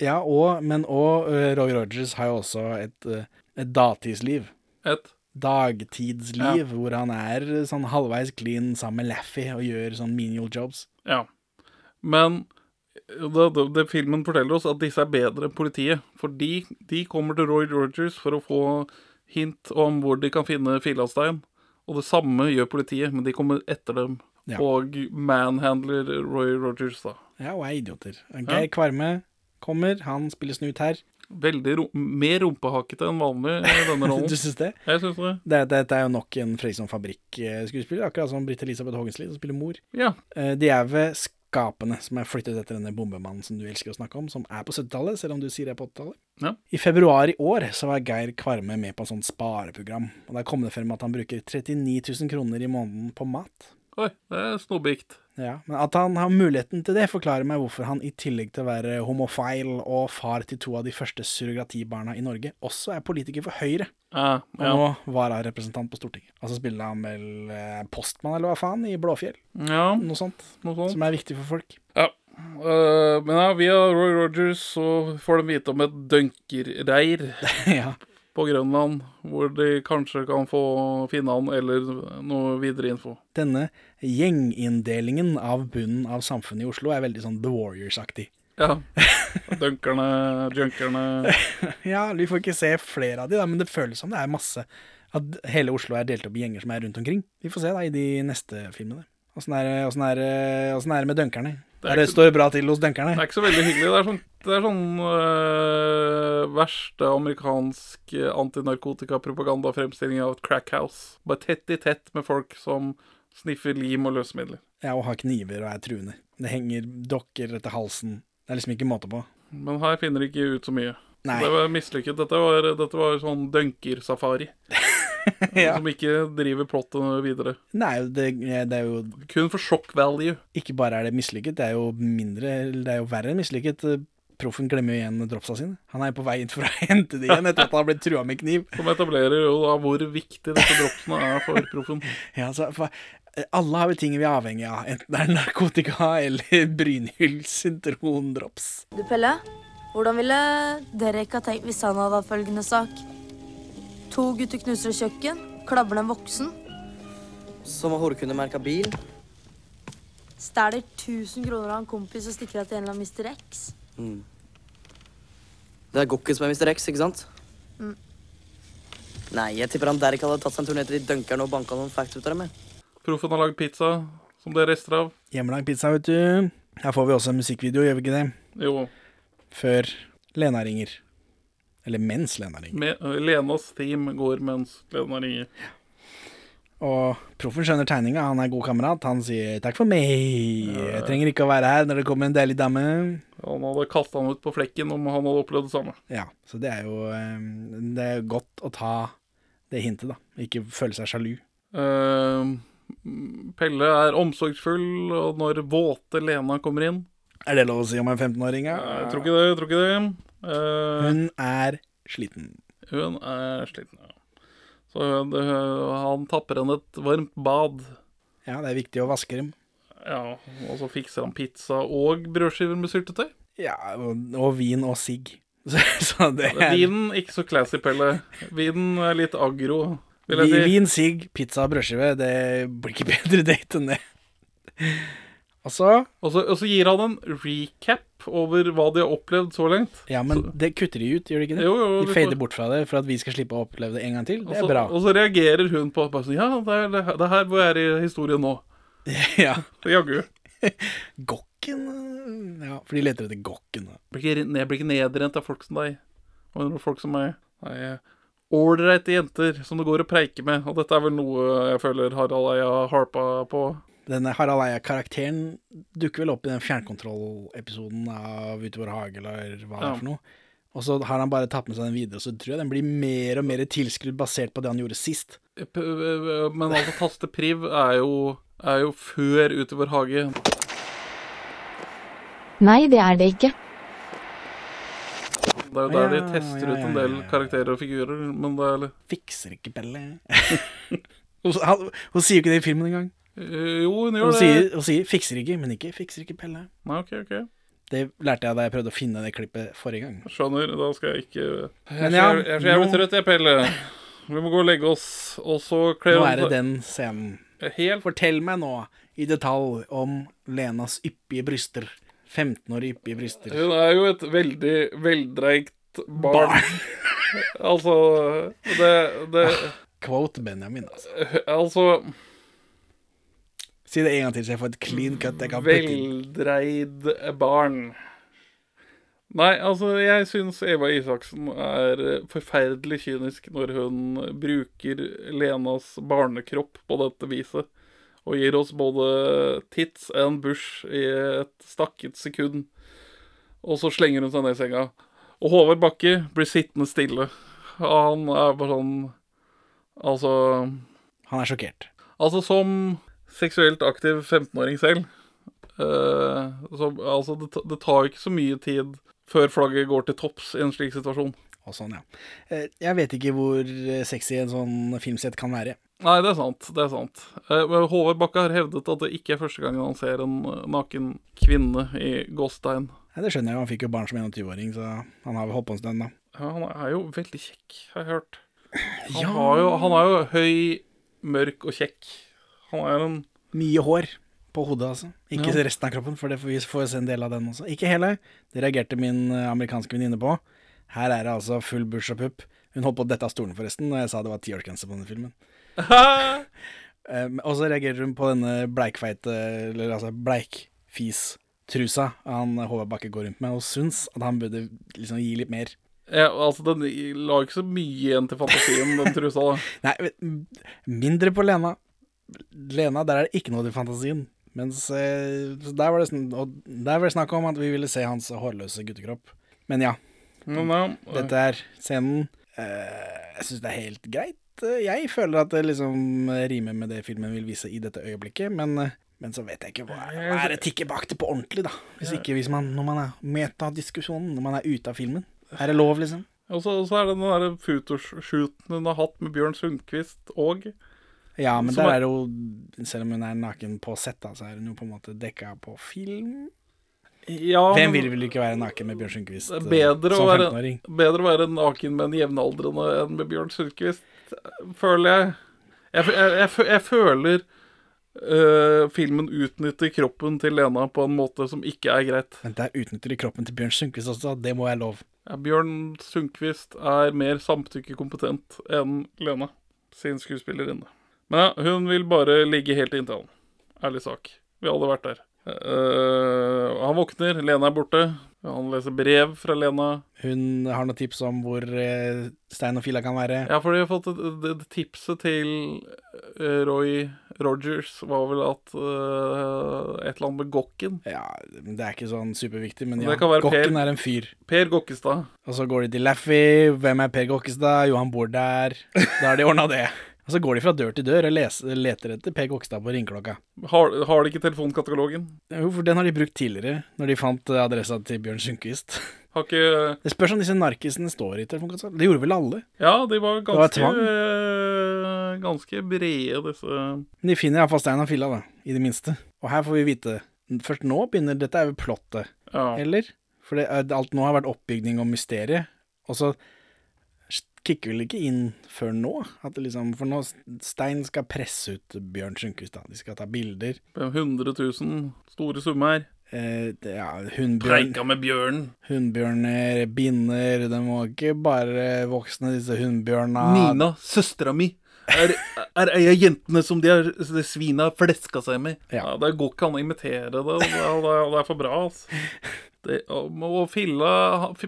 [SPEAKER 1] Ja, og, men og eh, Roy Rogers har jo også et, eh, et datidsliv.
[SPEAKER 2] Et.
[SPEAKER 1] Dagtidsliv, hvor han er eh, sånn halvveis clean sammen med Laffy og gjør sånn menial jobs.
[SPEAKER 2] Ja. Men eh, det, det, det filmen forteller oss at disse er bedre enn politiet. For de, de kommer til Roy Rogers for å få hint om hvor de kan finne Filastein. Og det samme gjør politiet, men de kommer etter dem.
[SPEAKER 1] Ja.
[SPEAKER 2] Og manhandler Roy Rogers, da.
[SPEAKER 1] Ja, og er idioter. Geir Kvarme kommer, han spiller snut her.
[SPEAKER 2] Veldig ro mer rumpehakete enn vanlig i denne
[SPEAKER 1] Du
[SPEAKER 2] rollen.
[SPEAKER 1] syns det?
[SPEAKER 2] Jeg syns det.
[SPEAKER 1] Dette, dette er jo nok en Fredriksson Fabrikk-skuespiller, akkurat som Britt Elisabeth Hågensli, som spiller mor.
[SPEAKER 2] Ja.
[SPEAKER 1] Eh, De er ved skapene som er flyttet etter denne bombemannen som du elsker å snakke om, som er på 70-tallet, selv om du sier det er på 80-tallet.
[SPEAKER 2] Ja.
[SPEAKER 1] I februar i år så var Geir Kvarme med på et sånt spareprogram, og der kom det frem at han bruker 39 000 kroner i måneden på mat.
[SPEAKER 2] Oi, det er snobbigt.
[SPEAKER 1] Ja, men At han har muligheten til det, forklarer meg hvorfor han i tillegg til å være homofil og far til to av de første surrogatibarna i Norge, også er politiker for Høyre.
[SPEAKER 2] Ja,
[SPEAKER 1] Og
[SPEAKER 2] Eh, ja.
[SPEAKER 1] nå vararepresentant på Stortinget. Og så spiller han vel eh, postmann, eller hva faen, i Blåfjell.
[SPEAKER 2] ja,
[SPEAKER 1] Noe sånt.
[SPEAKER 2] noe sånt.
[SPEAKER 1] Som er viktig for folk.
[SPEAKER 2] Eh, men ja, via Roy Rogers så får de vite om et dønkerreir
[SPEAKER 1] ja.
[SPEAKER 2] på Grønland, hvor de kanskje kan få finne han eller noe videre info.
[SPEAKER 1] Denne gjenginndelingen av bunnen av samfunnet i Oslo er veldig sånn The Warriors-aktig.
[SPEAKER 2] Ja. Dunkerne, junkerne
[SPEAKER 1] Ja, vi får ikke se flere av de, da, men det føles som det er masse. At hele Oslo er delt opp i gjenger som er rundt omkring. Vi får se da i de neste filmene. Åssen er, det- åssen er, det- åssen er det med dunkerne?
[SPEAKER 2] Det er
[SPEAKER 1] Det, det
[SPEAKER 2] ikke-
[SPEAKER 1] står bra til hos
[SPEAKER 2] Det
[SPEAKER 1] dunkerne.
[SPEAKER 2] er ikke så veldig hyggelig. Det er sånn, det er sånn eh, verste amerikansk eh, antinarkotikapropagandafremstilling av et crackhouse. Bare tett i tett med folk som sniffer lim og løsemidler.
[SPEAKER 1] Ja, og har kniver og er truende. Det henger dokker etter halsen. Det er liksom ikke måte på.
[SPEAKER 2] Men her finner de ikke ut så mye.
[SPEAKER 1] Nei.
[SPEAKER 2] Det var mislykket. Dette var, dette var sånn dunkersafari.
[SPEAKER 1] Ja.
[SPEAKER 2] Som ikke driver plottet videre.
[SPEAKER 1] Nei, det, det er jo
[SPEAKER 2] Kun for shock value.
[SPEAKER 1] Ikke bare er det mislykket, det er jo mindre eller Det er jo verre enn mislykket. Proffen glemmer jo igjen dropsa sine. Han er jo på vei inn for å hente de igjen etter at han har blitt trua med kniv.
[SPEAKER 2] Som etablerer jo da hvor viktig disse dropsene er for proffen.
[SPEAKER 1] Ja, altså, for alle har jo ting vi er avhengig av, enten det er narkotika eller Brynhild syntron-drops.
[SPEAKER 10] Du, Pelle. Hvordan ville Derek ha tenkt hvis han hadde hatt følgende sak? To gutter knuser et kjøkken, klabber en voksen,
[SPEAKER 4] Som har horekundemerka bil.
[SPEAKER 10] stjeler 1000 kroner av en kompis og stikker av til en eller annen Mr. X.
[SPEAKER 4] Det er Gokken som er Mr. X, ikke sant?
[SPEAKER 11] Nei, jeg tipper han Derek hadde tatt seg en tur ned til de dunkerne og banka noen facts ut av dem. jeg.
[SPEAKER 2] Proffen har lagd pizza, som det er rester av.
[SPEAKER 1] Hjemmelagd pizza, vet du. Her får vi også en musikkvideo, gjør vi ikke det?
[SPEAKER 2] Jo.
[SPEAKER 1] Før Lena ringer. Eller mens Lena ringer.
[SPEAKER 2] Me- Lenas team går mens Lena ringer.
[SPEAKER 1] Og proffen skjønner tegninga, han er god kamerat. Han sier 'takk for meg', jeg trenger ikke å være her når det kommer en deilig dame.
[SPEAKER 2] Han hadde kasta han ut på flekken om han hadde opplevd det samme.
[SPEAKER 1] Ja, så det er jo eh, Det er godt å ta det hintet, da. Ikke føle seg sjalu.
[SPEAKER 2] Eh, Pelle er omsorgsfull, og når våte Lena kommer inn
[SPEAKER 1] Er det lov å si om en 15-åring? Ja?
[SPEAKER 2] Jeg tror ikke det. jeg tror ikke det Eh,
[SPEAKER 1] Hun er sliten.
[SPEAKER 2] Hun er sliten, ja. Så hun, det, han tapper henne et varmt bad.
[SPEAKER 1] Ja, det er viktig å vaske dem.
[SPEAKER 2] Ja, Og så fikser han pizza og brødskiver med syltetøy.
[SPEAKER 1] Ja, og, og vin og sigg. Så, så det er
[SPEAKER 2] Vinen ikke så classy, Pelle. Vinen er litt aggro, vil jeg
[SPEAKER 1] Vi-
[SPEAKER 2] si.
[SPEAKER 1] Vin, sigg, pizza og brødskive. Det blir ikke bedre date enn det. Og så
[SPEAKER 2] Og så, og så gir han en recap over hva de har opplevd så langt.
[SPEAKER 1] Ja, men det kutter de ut, gjør de ikke det?
[SPEAKER 2] Jo, jo,
[SPEAKER 1] de
[SPEAKER 2] vi
[SPEAKER 1] fader
[SPEAKER 2] får-
[SPEAKER 1] bort fra det for at vi skal slippe å oppleve det en gang til.
[SPEAKER 2] Og
[SPEAKER 1] Det
[SPEAKER 2] så,
[SPEAKER 1] er bra.
[SPEAKER 2] og så reagerer hun på bare sånn, Ja, det er, det er- det er her hvor jeg er i historien nå.
[SPEAKER 1] Ja.
[SPEAKER 2] Jaggu.
[SPEAKER 1] Gokken eh, Ja, for de leter etter gokken. eh. da.
[SPEAKER 2] Blir ikke, jeg blir ikke nedrent av folk som deg. Og folk som meg. Nei, jeg- Ålreite jenter som du går og preiker med. Og dette er vel noe jeg føler Harald Eia harpa på.
[SPEAKER 1] Denne Harald Eia-karakteren dukker vel opp i den fjernkontrollepisoden av Ute i vår hage, eller hva det
[SPEAKER 2] Ja.
[SPEAKER 1] er for noe. Og så har han bare tatt med seg den videre, og så tror jeg den blir mer og mer tilskrudd basert på det han gjorde sist.
[SPEAKER 2] P- Eh, p- Men altså, tastepriv er jo, er jo før Ute i vår hage.
[SPEAKER 12] Nei, det er det ikke.
[SPEAKER 2] Det er jo der de tester ut en del karakterer og figurer, men det er litt
[SPEAKER 1] Fikser ikke Pelle. Hun, han, hun sier jo ikke det i filmen engang.
[SPEAKER 2] Eh, Jo, hun gjør
[SPEAKER 1] Hun
[SPEAKER 2] det.
[SPEAKER 1] sier, hun sier 'fikser ikke', men ikke 'fikser ikke Pelle'.
[SPEAKER 2] Nei, ok, ok.
[SPEAKER 1] Det lærte jeg da jeg prøvde å finne det klippet forrige gang.
[SPEAKER 2] Skjønner. Da skal jeg ikke Jeg er
[SPEAKER 1] Men
[SPEAKER 2] så
[SPEAKER 1] ja,
[SPEAKER 2] jævlig- jeg er så jævlig
[SPEAKER 1] nå-
[SPEAKER 2] trøtt, jeg, Pelle. Vi må gå og legge oss, og så kler
[SPEAKER 1] Nå
[SPEAKER 2] hun
[SPEAKER 1] er det
[SPEAKER 2] seg-
[SPEAKER 1] den scenen.
[SPEAKER 2] Helt.
[SPEAKER 1] Fortell meg nå i detalj om Lenas yppige bryster. 15 år yppige bryster.
[SPEAKER 2] Hun er jo et veldig veldreigt barn. altså Det, det
[SPEAKER 1] Quote Benjamin, altså.
[SPEAKER 2] Altså
[SPEAKER 1] Si det en gang til, så jeg får et clean cut jeg kan putte inn.
[SPEAKER 2] Veldreid barn. Nei, altså, jeg syns Eva Isaksen er eh, forferdelig kynisk når hun bruker Lenas barnekropp på dette viset. Og gir oss både tits and bush i et stakket sekund. Og så slenger hun seg ned i senga. Og Håvard Bakke blir sittende stille. Han er bare sånn Altså
[SPEAKER 1] Han er sjokkert.
[SPEAKER 2] Altså, som seksuelt aktiv 15-åring selv eh, så, Altså, det, ta- det tar jo ikke så mye tid før flagget går til topps i en slik situasjon.
[SPEAKER 1] Og sånn, ja. Eh, Jeg vet ikke hvor eh, sexy en sånn filmsett kan være.
[SPEAKER 2] Nei, det er sant. det er sant. Eh, men Håvard Bakke har hevdet at det ikke er første gangen han ser en eh, naken kvinne i gåstein.
[SPEAKER 1] Nei, det skjønner jeg, jo, han fikk jo barn som 21-åring, så han har vel holdt på en stund, da.
[SPEAKER 2] Ja, han er jo veldig kjekk, har jeg hørt. Han,
[SPEAKER 1] Ja.
[SPEAKER 2] har jo, han er jo høy, mørk og kjekk. Han er en
[SPEAKER 1] Mye hår på hodet, altså. Ikke
[SPEAKER 2] Ja.
[SPEAKER 1] resten av kroppen, for det får vi får se en del av den også. Ikke hele. Det reagerte min eh, amerikanske venninne på. Her er det altså full bush og pupp. Hun holdt på å dette av stolen, forresten, når jeg sa det var tiårsgrense på denne filmen. Eh, men- og så reagerer hun på denne bleikfeite, eller altså bleikfis-trusa han eh, Håvard Bakke går rundt med, og syns at han burde liksom gi litt mer.
[SPEAKER 2] ja, Altså, den la ikke så mye igjen til fantasien, den trusa. da.
[SPEAKER 1] Nei, men, mm, mindre på Lena. Lena, der er det ikke noe til fantasien. Mens eh, så der, var det, sn- og der var det snakk om at vi ville se hans hårløse guttekropp. Men ja.
[SPEAKER 2] Men ja,
[SPEAKER 1] Dette er scenen. Eh, jeg syns det er helt greit. Eh, Jeg føler at det liksom rimer med det filmen vil vise i dette øyeblikket, men, eh, men så vet jeg ikke hva, hva er det tikker bak det på ordentlig, da. Hvis ikke hvis man, når man er metadiskusjonen, når man er ute av filmen. Er det lov, liksom?
[SPEAKER 2] Og så, og så er det den der photoshooten hun har hatt med Bjørn Sundquist og
[SPEAKER 1] Ja, men
[SPEAKER 2] Som
[SPEAKER 1] der
[SPEAKER 2] er-
[SPEAKER 1] er det jo Selv om hun er naken på sett, da, så er hun jo på en måte dekka på film.
[SPEAKER 2] ja,
[SPEAKER 1] Hvem
[SPEAKER 2] men
[SPEAKER 1] vil vel ikke være naken med Bjørn Sundquist
[SPEAKER 2] det er
[SPEAKER 1] eh,
[SPEAKER 2] bedre å,
[SPEAKER 1] som
[SPEAKER 2] være,
[SPEAKER 1] 15-åring?
[SPEAKER 2] bedre å være naken med en jevnaldrende enn med Bjørn Sundquist, føler jeg. Jeg, fø- jeg, jeg, fø- jeg føler øh, filmen utnytter kroppen til Lena på en måte som ikke er greit.
[SPEAKER 1] Men der utnytter de kroppen til Bjørn Sundquist også, det må være lov.
[SPEAKER 2] Ja, Bjørn Sundquist er mer samtykkekompetent enn Lena, sin skuespillerinne. Men ja, hun vil bare ligge helt inntil han. Ærlig sak. Vi har alle vært der. Eh, han våkner, Lena er borte. Han leser brev fra Lena.
[SPEAKER 1] Hun har noen tips om hvor eh, stein og fila kan være.
[SPEAKER 2] Ja, for de har fått et, et, et tipset til eh, Roy Rogers var vel at eh, et eller annet med Gokken.
[SPEAKER 1] Ja, det er ikke sånn superviktig, men
[SPEAKER 2] Det
[SPEAKER 1] ja,
[SPEAKER 2] kan være
[SPEAKER 1] Gokken
[SPEAKER 2] Per-
[SPEAKER 1] er en fyr.
[SPEAKER 2] Per Gokkestad.
[SPEAKER 1] Og så går de til Laffy. Hvem er Per Gokkestad? Jo, han bor der. Da har de ordna det. Og så går de fra dør til dør og leser, leter etter Per Gokkestad på ringeklokka.
[SPEAKER 2] Har, har de ikke telefonkatalogien?
[SPEAKER 1] Jo, for den har de brukt tidligere, når de fant eh, adressa til Bjørn Sundquist.
[SPEAKER 2] Har ikke
[SPEAKER 1] Det spørs om disse narkisene står i telefonkassa. Det gjorde vel alle?
[SPEAKER 2] Ja, de var
[SPEAKER 1] var
[SPEAKER 2] ganske,
[SPEAKER 1] tvang.
[SPEAKER 2] eh, ganske brede, disse
[SPEAKER 1] Men de finner iallfall stein og filla, da. I det minste. Og her får vi vite Først nå begynner Dette er jo plottet,
[SPEAKER 2] Ja.
[SPEAKER 1] eller? For det, er- alt nå har vært oppbygning og mysterie. Og så kicker vel ikke inn før nå? At det liksom, for nå Stein skal presse ut Bjørn Sundquist, da. De skal ta bilder.
[SPEAKER 2] 100 000 store summer.
[SPEAKER 1] Eh, det, ja, hundbjørn,
[SPEAKER 2] Preika med bjørn.
[SPEAKER 1] hundbjørner, binner De må ikke bare voksne, disse hundbjørna.
[SPEAKER 2] Nina, søstera mi, er, er ei av jentene som de, er, de svina fleska seg med. Ja. det går ikke an å imitere det. Det, det, det er for bra, altså. Det, og, og Filla,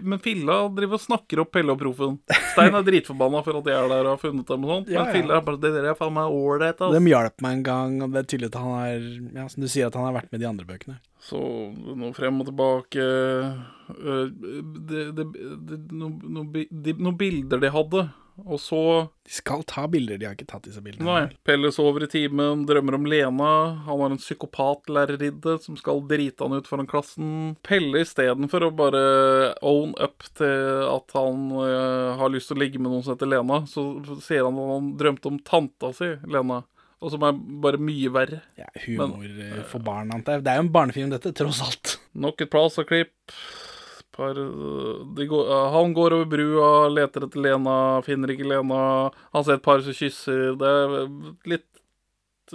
[SPEAKER 2] men Filla driver og snakker opp Pelle og Proffen. Stein er dritforbanna for at jeg er der og har funnet dem og sånt,
[SPEAKER 1] Ja,
[SPEAKER 2] men
[SPEAKER 1] ja.
[SPEAKER 2] Filla er bare Det der er faen meg ålreit,
[SPEAKER 1] De
[SPEAKER 2] altså.
[SPEAKER 1] hjalp meg en gang, og det er tydelig at han har ja, Som du sier, at han har vært med i de andre bøkene.
[SPEAKER 2] Så noe frem og tilbake øh, det, det, det, noe- noe bi- de- Noen bilder de hadde, og så
[SPEAKER 1] De skal ta bilder, de har ikke tatt disse bildene.
[SPEAKER 2] Nei. Pelle sover i timen, drømmer om Lena. Han har en psykopatlærerinne som skal drite han ut foran klassen. Pelle istedenfor å bare own up til at han eh, har lyst til å ligge med noen som heter Lena, så sier han at han drømte om tanta si, Lena. Og som er bare mye verre.
[SPEAKER 1] humor eh, for barn, antar jeg. Det er jo en barnefilm, dette, tross alt.
[SPEAKER 2] Nok et Plaza-klipp. Par, de går, eh, han går over brua, leter etter Lena, finner ikke Lena. Han ser et par som kysser. Det er eh, litt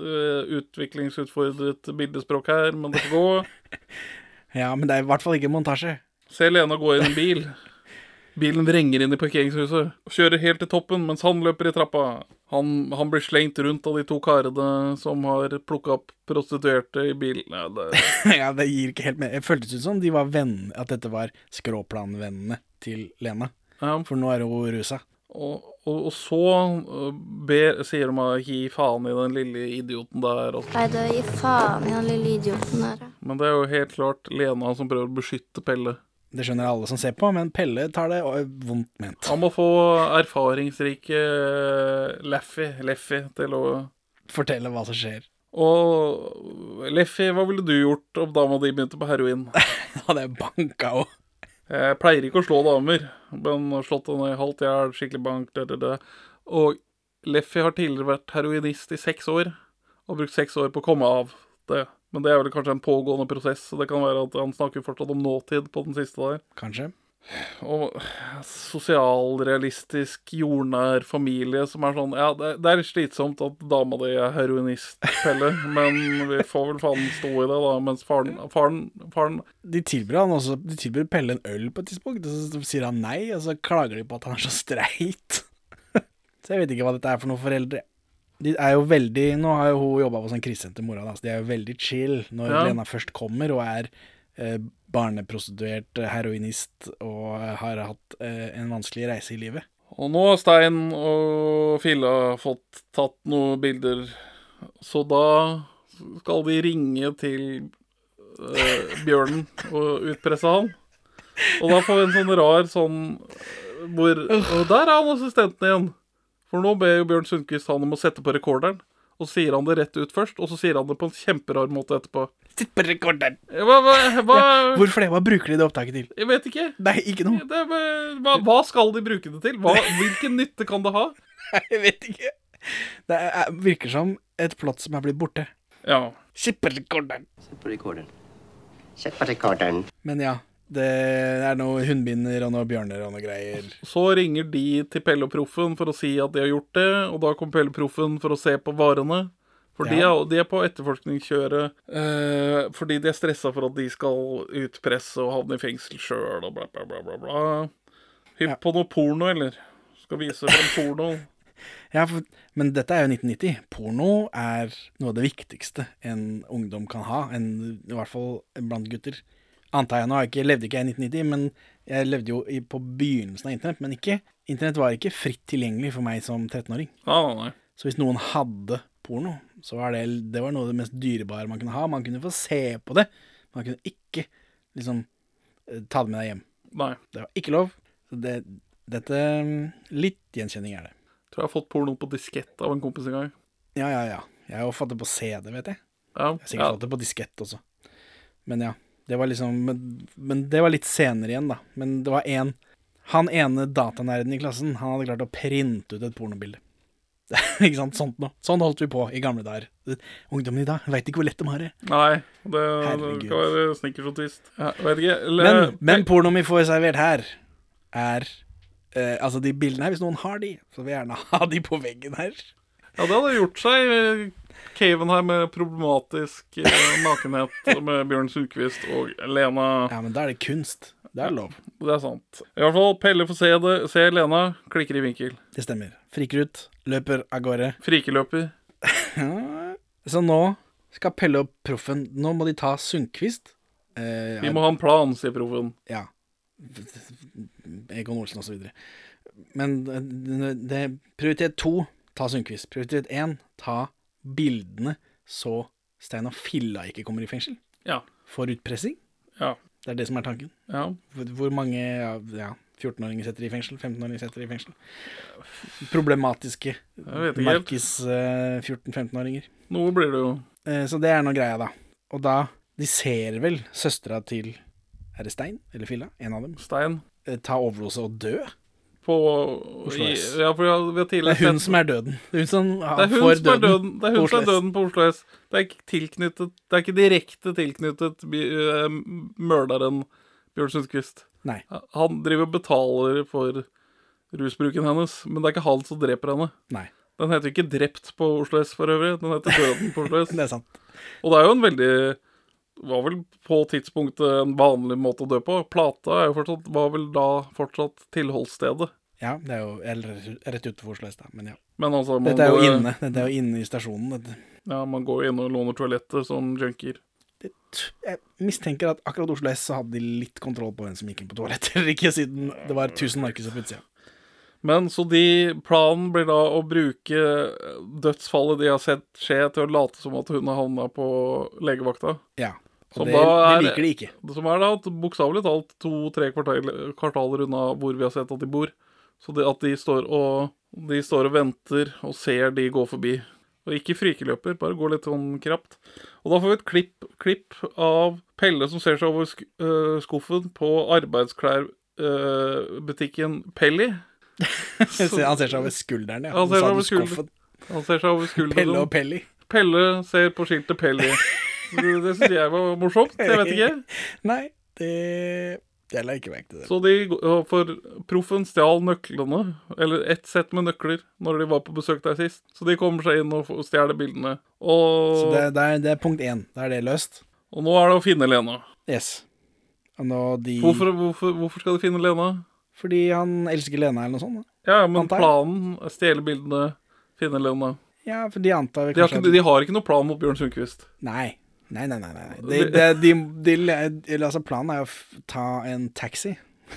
[SPEAKER 2] eh, utviklingsutfordret bildespråk her, men det får gå.
[SPEAKER 1] Ja, men det er i hvert fall ikke montasje.
[SPEAKER 2] Ser Lena gå inn i en bil. Bilen vrenger inn i parkeringshuset. Kjører helt til toppen mens han løper i trappa. Han, han blir slengt rundt av de to karene som har plukka opp prostituerte i bilen. Ja, det,
[SPEAKER 1] ja, det gir ikke helt med. Det føltes ut som de var venn, at dette var skråplanvennene til Lena. For nå er hun rusa.
[SPEAKER 2] Og, og, og så øh, ber, sier de meg gi faen i den lille idioten der. Og.
[SPEAKER 6] Nei, du, gi faen i han lille idioten der. ja.
[SPEAKER 2] Men det er jo helt klart Lena som prøver å beskytte Pelle.
[SPEAKER 1] Det skjønner alle som ser på, men Pelle tar det og, vondt ment.
[SPEAKER 2] Han må få erfaringsrike øh, Laffy, Leffy til å
[SPEAKER 1] Fortelle hva som skjer.
[SPEAKER 2] Og Leffy, hva ville du gjort om dama di begynte på heroin?
[SPEAKER 1] Da hadde jeg banka òg.
[SPEAKER 2] Jeg Eh, pleier ikke å slå damer, men har slått henne i halvt hjel, skikkelig bank, det, det, det. Og Leffy har tidligere vært heroinist i seks år, og brukt seks år på å komme av det. Men det er vel kanskje en pågående prosess, så det kan være at han snakker fortsatt om nåtid på den siste der.
[SPEAKER 1] Kanskje.
[SPEAKER 2] Og sosialrealistisk, jordnær familie som er sånn Ja, det, det er slitsomt at dama di er heroinist, Pelle, men vi får vel faen stå i det, da, mens faren, faren, faren
[SPEAKER 1] De tilbyr, han også, de tilbyr Pelle en øl på et tidspunkt, og så sier han nei, og så klager de på at han er så streit. så jeg vet ikke hva dette er for noen foreldre. De er jo veldig, Nå har jo hun jobba på sånn krisesenter, mora, da, så de er jo veldig chill når
[SPEAKER 2] Ja.
[SPEAKER 1] Lena først kommer og er eh, barneprostituert, eh, heroinist og har hatt eh, en vanskelig reise i livet.
[SPEAKER 2] Og nå har Stein og Filla fått tatt noen bilder, så da skal de ringe til eh, bjørnen og utpresse han. Og da får vi en sånn rar sånn eh, hvor Og der er han assistenten igjen! For nå ber jo Bjørn Sundquist han om å sette på rekorderen. Og så sier han det rett ut først, og så sier han det på en kjemperar måte etterpå. Eh,
[SPEAKER 1] Sitt på rekorderen!
[SPEAKER 2] Hva, hva, hva
[SPEAKER 1] Ja, hvorfor det? Hva bruker de det opptaket til?
[SPEAKER 2] Jeg vet ikke.
[SPEAKER 1] Nei, ikke noe.
[SPEAKER 2] Det, er bare- hva, hva skal de bruke det til? Hva, hvilken nytte kan det ha?
[SPEAKER 1] Jeg vet ikke. Det er, er- virker som et plott som er blitt borte.
[SPEAKER 2] Ja.
[SPEAKER 1] Sitt på rekorderen!
[SPEAKER 12] Sett på rekorderen. Sett på rekorderen.
[SPEAKER 1] Men ja, det er noe hundbinder og noe bjørner og noe greier.
[SPEAKER 2] Så ringer de til Pelle og Proffen for å si at de har gjort det, og da kommer Pelle og Proffen for å se på varene. For de,
[SPEAKER 1] Ja.
[SPEAKER 2] er, de er på etterforskningskjøret eh, fordi de er stressa for at de skal utpresse og havne i fengsel sjøl og bla, bla, bla, bla, bla. Hypp på noe porno, eller? Skal vise frem porno.
[SPEAKER 1] Ja, for, men dette er jo 1990. Porno er noe av det viktigste en ungdom kan ha, en, i hvert fall blant gutter. Antar jeg nå, jeg ikke, levde ikke jeg i 1990, men jeg levde jo i, på begynnelsen av internett. Men ikke, internett var ikke fritt tilgjengelig for meg som 13-åring.
[SPEAKER 2] Ah, nei.
[SPEAKER 1] Så hvis noen hadde porno, så var det, det var noe av det mest dyrebare man kunne ha. Man kunne få se på det. Man kunne ikke liksom eh, ta det med deg hjem.
[SPEAKER 2] Nei.
[SPEAKER 1] Det var ikke lov. Så det, dette mm, Litt gjenkjenning er det.
[SPEAKER 2] Tror jeg har fått porno på diskett av en kompis en gang.
[SPEAKER 1] Ja, ja, ja. Jeg har jo fått det på CD, vet jeg. jeg
[SPEAKER 2] Ja,
[SPEAKER 1] har sikkert
[SPEAKER 2] ja.
[SPEAKER 1] fått det på diskett også. Men ja. Det var liksom men, men det var litt senere igjen, da. Men det var én Han ene datanerden i klassen, han hadde klart å printe ut et pornobilde. ikke sant? Sånt nå. Sånn holdt vi på i gamle dager. Ungdommen i dag veit ikke hvor lett de har det.
[SPEAKER 2] Nei, det, det
[SPEAKER 1] Herregud.
[SPEAKER 2] skal være snickersjournalist. Ja, vet ikke. eller-
[SPEAKER 1] Men, men pornoen vi får servert her, er eh, Altså, de bildene her, hvis noen har de, så vil jeg gjerne ha de på veggen her.
[SPEAKER 2] Ja, det hadde gjort seg. eh, Caven her med problematisk eh, nakenhet med Bjørn Sundquist og Lena.
[SPEAKER 1] Ja, men da er det kunst. Det er lov.
[SPEAKER 2] Det er sant. I hvert fall Pelle får se det. Se Lena, klikker i vinkel.
[SPEAKER 1] Det stemmer. Friker ut, løper av gårde.
[SPEAKER 2] Frikeløper.
[SPEAKER 1] Så nå skal Pelle og Proffen Nå må de ta Sundquist. Eh,
[SPEAKER 2] Vi må ha en plan, sier proffen.
[SPEAKER 1] Ja. Egon Olsen og så videre. Men eh, det, det, prioritet to, ta Sundquist. Prioritet én, ta bildene så Stein og Filla ikke kommer i fengsel.
[SPEAKER 2] Ja.
[SPEAKER 1] For utpressing.
[SPEAKER 2] Ja.
[SPEAKER 1] Det er det som er tanken.
[SPEAKER 2] Ja.
[SPEAKER 1] Hvor, hvor mange ja, ja, 14-åringer setter i fengsel? 15-åringer setter i fengsel? Problematiske
[SPEAKER 2] vet ikke helt.
[SPEAKER 1] Markis eh, 14-15-åringer.
[SPEAKER 2] Noe blir det jo.
[SPEAKER 1] Eh, Så det er nå greia, da. Og da De ser vel søstera til Er det Stein eller Filla? En av dem. Eh,
[SPEAKER 2] Stein.
[SPEAKER 1] Ta overdose og dø?
[SPEAKER 2] På
[SPEAKER 1] Oslo
[SPEAKER 2] i,
[SPEAKER 1] S.
[SPEAKER 2] ja, for vi har- vi har
[SPEAKER 1] Det
[SPEAKER 2] tidligere
[SPEAKER 1] er hun
[SPEAKER 2] sett-
[SPEAKER 1] som er døden. Det er hun som ja,
[SPEAKER 2] Det er hun
[SPEAKER 1] får
[SPEAKER 2] som er
[SPEAKER 1] døden.
[SPEAKER 2] døden. Det er
[SPEAKER 1] på
[SPEAKER 2] hun som er
[SPEAKER 1] Oslo S.
[SPEAKER 2] døden på Oslo S. Det er ikke tilknyttet Det er ikke direkte tilknyttet bi- eh, mørderen Bjørn Sundquist.
[SPEAKER 1] Nei.
[SPEAKER 2] Han driver og betaler for rusbruken hennes, men det er ikke han som dreper henne.
[SPEAKER 1] Nei.
[SPEAKER 2] Den heter jo ikke 'Drept på Oslo S' for øvrig, den heter 'Døden på Oslo S'.
[SPEAKER 1] det er sant.
[SPEAKER 2] Og det er jo en veldig Var vel på tidspunktet en vanlig måte å dø på. Plata er jo fortsatt, var vel da fortsatt tilholdsstedet.
[SPEAKER 1] Ja, det er jo eller, rett utenfor Oslo S, da. Men ja.
[SPEAKER 2] Men altså, man
[SPEAKER 1] Dette er jo
[SPEAKER 2] går-
[SPEAKER 1] inne. Dette er jo inne i stasjonen. Dette.
[SPEAKER 2] Ja, man går jo inn og låner toalettet som junkier.
[SPEAKER 1] Jeg mistenker at akkurat Oslo S så hadde de litt kontroll på hvem som gikk inn på toaletter eller ikke, siden det var 1000 narkiser på utsida.
[SPEAKER 2] Men så de planen blir da å bruke dødsfallet de har sett skje, til å late som at hun har havna på legevakta.
[SPEAKER 1] Ja. Og
[SPEAKER 2] Som
[SPEAKER 1] det,
[SPEAKER 2] da
[SPEAKER 1] det
[SPEAKER 2] er-
[SPEAKER 1] liker de ikke.
[SPEAKER 2] Som er da at bokstavelig talt to-tre kvartal, kvartaler unna hvor vi har sett at de bor. Så det at de står og de står og venter og ser de gå forbi. Og ikke frikeløper, bare gå litt sånn krapt. Og da får vi et klipp, klipp av Pelle som ser seg over sk øh, skuffen på eh, arbeidsklærbutikken Pelly.
[SPEAKER 1] Han ser seg over skulderen, ja.
[SPEAKER 2] Sånn. Han ser
[SPEAKER 1] Så
[SPEAKER 2] seg
[SPEAKER 1] hadde
[SPEAKER 2] over skulderen.
[SPEAKER 1] skuffen.
[SPEAKER 2] Han ser seg over skulderen.
[SPEAKER 1] Pelle og Pelli.
[SPEAKER 2] Pelle ser på skiltet Pelly. Det, det syns jeg var morsomt. Jeg vet ikke.
[SPEAKER 1] Nei, det Jeg la ikke merke til det.
[SPEAKER 2] Så de, går- for proffen stjal nøklene, eller ett sett med nøkler, når de var på besøk der sist. Så de kommer seg inn og får- stjeler bildene.
[SPEAKER 1] Så
[SPEAKER 2] Og,
[SPEAKER 1] det, det, er, det er punkt én. Da er det løst.
[SPEAKER 2] og nå er det å finne Lena.
[SPEAKER 1] Yes. Og nå de
[SPEAKER 2] Hvorfor, hvorfor, hvorfor skal de finne Lena?
[SPEAKER 1] Fordi han elsker Lena eller noe sånt. Da.
[SPEAKER 2] Ja, men
[SPEAKER 1] Antar jeg.
[SPEAKER 2] planen er stjele bildene, finne Lena.
[SPEAKER 1] Ja, for de antar vel
[SPEAKER 2] De har,
[SPEAKER 1] kanskje
[SPEAKER 2] ikke, de har ikke noen plan mot Bjørn Sundquist.
[SPEAKER 1] Nei. Nei, nei, nei. nei. nei. De, de, de, de, eller altså planen er å f ta en taxi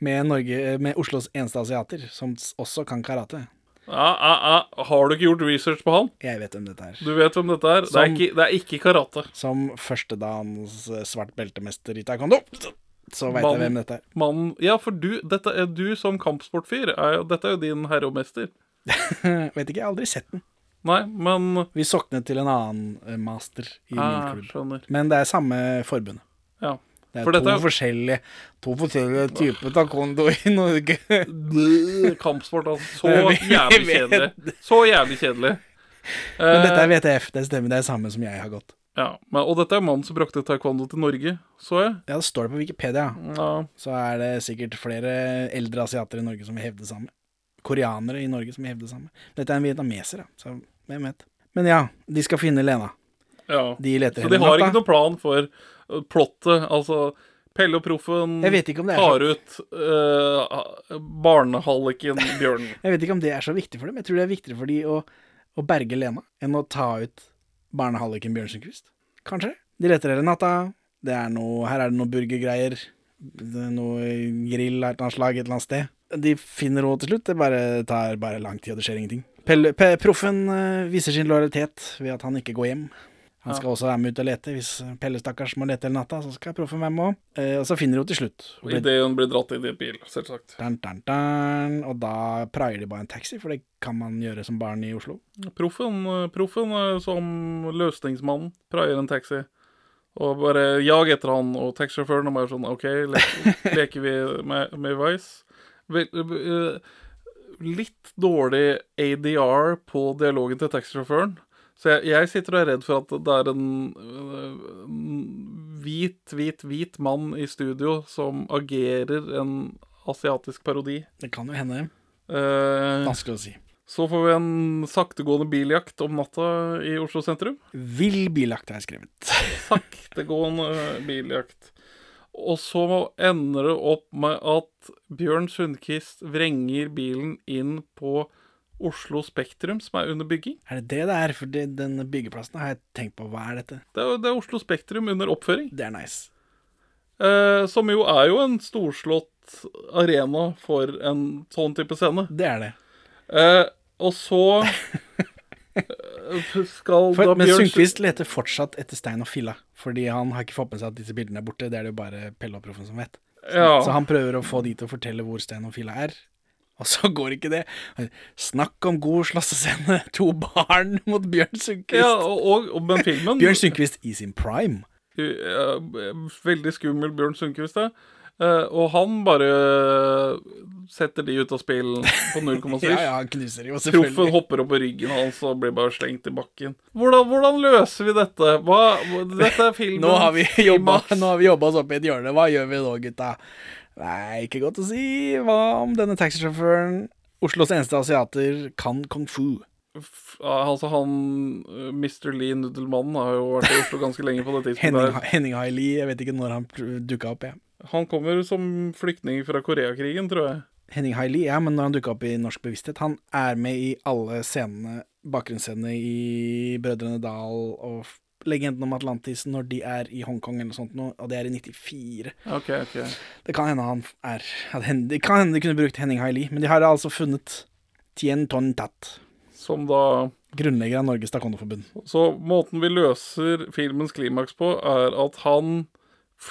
[SPEAKER 1] med, Norge, med Oslos eneste asiater, som s- også kan karate.
[SPEAKER 2] Ah, ah, ah. Har du ikke gjort research på han?
[SPEAKER 1] Jeg vet hvem dette er.
[SPEAKER 2] Du vet hvem dette er? Det er
[SPEAKER 1] Som-
[SPEAKER 2] ikke, det er ikke karate.
[SPEAKER 1] Som førstedagens eh, svart beltemester i taekwondo. Så veit jeg
[SPEAKER 2] Mannen-
[SPEAKER 1] hvem dette er.
[SPEAKER 2] Mannen Ja, for du, dette er, du som kampsportfyr, er, jo- dette er jo din herre og mester.
[SPEAKER 1] Vet ikke, jeg har aldri sett den.
[SPEAKER 2] Nei, men
[SPEAKER 1] Vi soknet til en annen eh, master i
[SPEAKER 2] Ah,
[SPEAKER 1] min klubb.
[SPEAKER 2] skjønner.
[SPEAKER 1] Men det er samme forbundet.
[SPEAKER 2] Ja.
[SPEAKER 1] Det er
[SPEAKER 2] For dette
[SPEAKER 1] to,
[SPEAKER 2] er-
[SPEAKER 1] forskjellige, to forskjellige typer taekwondo i Norge. Men
[SPEAKER 2] Kampsport, altså. Så
[SPEAKER 1] Vi
[SPEAKER 2] jævlig
[SPEAKER 1] vet
[SPEAKER 2] kjedelig. Så jævlig kjedelig.
[SPEAKER 1] dette er
[SPEAKER 2] Eh,
[SPEAKER 1] VTF, det stemmer. Det er samme som jeg har gått.
[SPEAKER 2] ja, men, og dette er mannen som brakte taekwondo til Norge, så jeg.
[SPEAKER 1] Ja, det står det på Wikipedia.
[SPEAKER 2] Ja.
[SPEAKER 1] Så er det sikkert flere eldre asiater i Norge som vil hevde det samme. Koreanere i Norge som vil hevde det samme. Dette er en vietnameser, da. Så hvem vet. Men ja, de skal finne Lena.
[SPEAKER 2] Ja.
[SPEAKER 1] De leter
[SPEAKER 2] så de
[SPEAKER 1] henne
[SPEAKER 2] har
[SPEAKER 1] opp,
[SPEAKER 2] ikke
[SPEAKER 1] da.
[SPEAKER 2] noen plan for eh, plottet. Altså, Pelle og Proffen
[SPEAKER 1] Jeg vet ikke om det er
[SPEAKER 2] tar ut uh, barnehalliken Bjørnen.
[SPEAKER 1] Jeg vet ikke om det er så viktig for dem. Jeg tror det er viktigere for de å, å berge Lena enn å ta ut barnehalliken Bjørnsenquist. Kanskje. De leter etter natta. Det er noe, her er det noe burgergreier. Det er Noe grill av et eller annet slag et eller annet sted. De finner henne til slutt. Det bare tar bare lang tid, og det skjer ingenting. Pelle, P Proffen eh, viser sin lojalitet ved at han ikke går hjem. Han skal også være med ut og lete. Hvis Pelle stakkars må lete hele natta, så skal Proffen være med òg. Og så finner hun til slutt. Hun
[SPEAKER 2] Og ideen blir dratt inn i en bil, selvsagt.
[SPEAKER 1] Dun, dun, dun. Og da praier de bare en taxi, for det kan man gjøre som barn i Oslo.
[SPEAKER 2] Proffen, eh, proffen eh, som løsningsmann praier en taxi. Og bare jag etter han, og taxisjåføren er bare sånn OK, le leker vi med, med Vice? Vel, eh, litt dårlig ADR på dialogen til taxisjåføren. Så jeg, jeg sitter og er redd for at det er en øh, en hvit, hvit, hvit mann i studio som agerer en asiatisk parodi.
[SPEAKER 1] Det kan jo hende.
[SPEAKER 2] Eh,
[SPEAKER 1] Vanskelig å si.
[SPEAKER 2] Så får vi en saktegående biljakt om natta i Oslo sentrum.
[SPEAKER 1] Vill biljakt har jeg skrevet.
[SPEAKER 2] Saktegående biljakt. Og så ender det opp med at Bjørn Sundquist vrenger bilen inn på Oslo Spektrum, som er under bygging.
[SPEAKER 1] Er det det det er? For det, denne byggeplassen har jeg tenkt på. Hva er dette?
[SPEAKER 2] Det er, det er Oslo Spektrum under oppføring.
[SPEAKER 1] Det er nice.
[SPEAKER 2] Eh, som jo er jo en storslått arena for en sånn type scene.
[SPEAKER 1] Det er det.
[SPEAKER 2] Eh, og så eh, skal
[SPEAKER 1] For,
[SPEAKER 2] da
[SPEAKER 1] men
[SPEAKER 2] Bjørn
[SPEAKER 1] Sundquist leter fortsatt etter stein og filla, fordi han har ikke fått med seg at disse bildene er borte. Det er det jo bare Pelle og Proffen som vet. Så,
[SPEAKER 2] Ja.
[SPEAKER 1] så han prøver å få de til å fortelle hvor stein og filla er. Og så går ikke det. Snakk om god slåssescene. To barn mot Bjørn Sundquist.
[SPEAKER 2] Ja, og, og, og men filmen
[SPEAKER 1] Bjørn Sundquist i sin prime.
[SPEAKER 2] Eh, Veldig skummel Bjørn Sundquist, det. Eh, og han bare setter de ut av spill på null komma seks.
[SPEAKER 1] Ja, ja, han knuser jo, selvfølgelig.
[SPEAKER 2] Proffen hopper opp på ryggen hans og blir bare slengt i bakken. Hvordan, hvordan løser vi dette? Hva, dette er filmen
[SPEAKER 1] Nå har vi jobba, nå har vi jobba oss opp i et hjørne. Hva gjør vi nå, gutta? Nei, ikke godt å si. Hva om denne taxisjåføren, Oslos eneste asiater, kan kung fu?
[SPEAKER 2] F- Altså, han eh, Mr. Lee Nudelmannen har jo vært i Oslo ganske lenge på det tidspunktet.
[SPEAKER 1] Henning,
[SPEAKER 2] her.
[SPEAKER 1] Henning Haili, jeg vet ikke når han dukka opp, jeg.
[SPEAKER 2] Han kommer som flyktning fra Koreakrigen, tror jeg.
[SPEAKER 1] Henning Haili, ja, men når han dukka opp i norsk bevissthet Han er med i alle scenene, bakgrunnsscenene i Brødrene Dal og f- Legenden om Atlantis når de er i Hongkong eller noe sånt, nå, og det er i 94.
[SPEAKER 2] Ok, ok.
[SPEAKER 1] Det kan hende han f- er at hen- Det kan hende de kunne brukt Henning Haili, men de har altså funnet Tien Ton Tat.
[SPEAKER 2] Som da
[SPEAKER 1] Grunnlegger av Norges Taekwondoforbund.
[SPEAKER 2] Så måten vi løser filmens klimaks på, er at han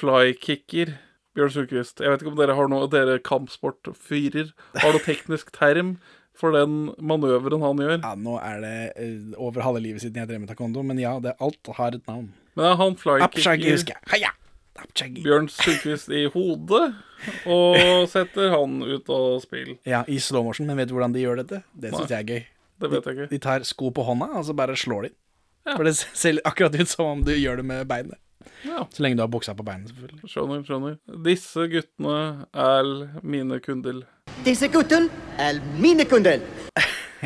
[SPEAKER 2] flykicker Bjørn Sundquist. Jeg vet ikke om dere har noe Dere kampsportfyrer har noe teknisk term for den manøveren han gjør.
[SPEAKER 1] Ja, nå er det eh, over halve livet siden jeg drev med taekwondo, men ja, det, alt har et navn.
[SPEAKER 2] Men er han
[SPEAKER 1] Apshagi, husker
[SPEAKER 2] flykicker
[SPEAKER 1] jeg. Heia!
[SPEAKER 2] Bjørn Sundquist i hodet og setter han ut av spill.
[SPEAKER 1] Ja, I slow motion, men vet du hvordan de gjør dette? Det
[SPEAKER 2] Nei,
[SPEAKER 1] syns jeg er gøy.
[SPEAKER 2] det vet jeg
[SPEAKER 1] de,
[SPEAKER 2] ikke.
[SPEAKER 1] de tar sko på hånda, og så bare slår de. For det ser akkurat ut som om du gjør det med beinet.
[SPEAKER 2] Ja.
[SPEAKER 1] Så lenge du har buksa på beinet, selvfølgelig.
[SPEAKER 2] Skjønner, skjønner. Disse guttene er mine kunder.
[SPEAKER 13] Disse gutten er mine kunder.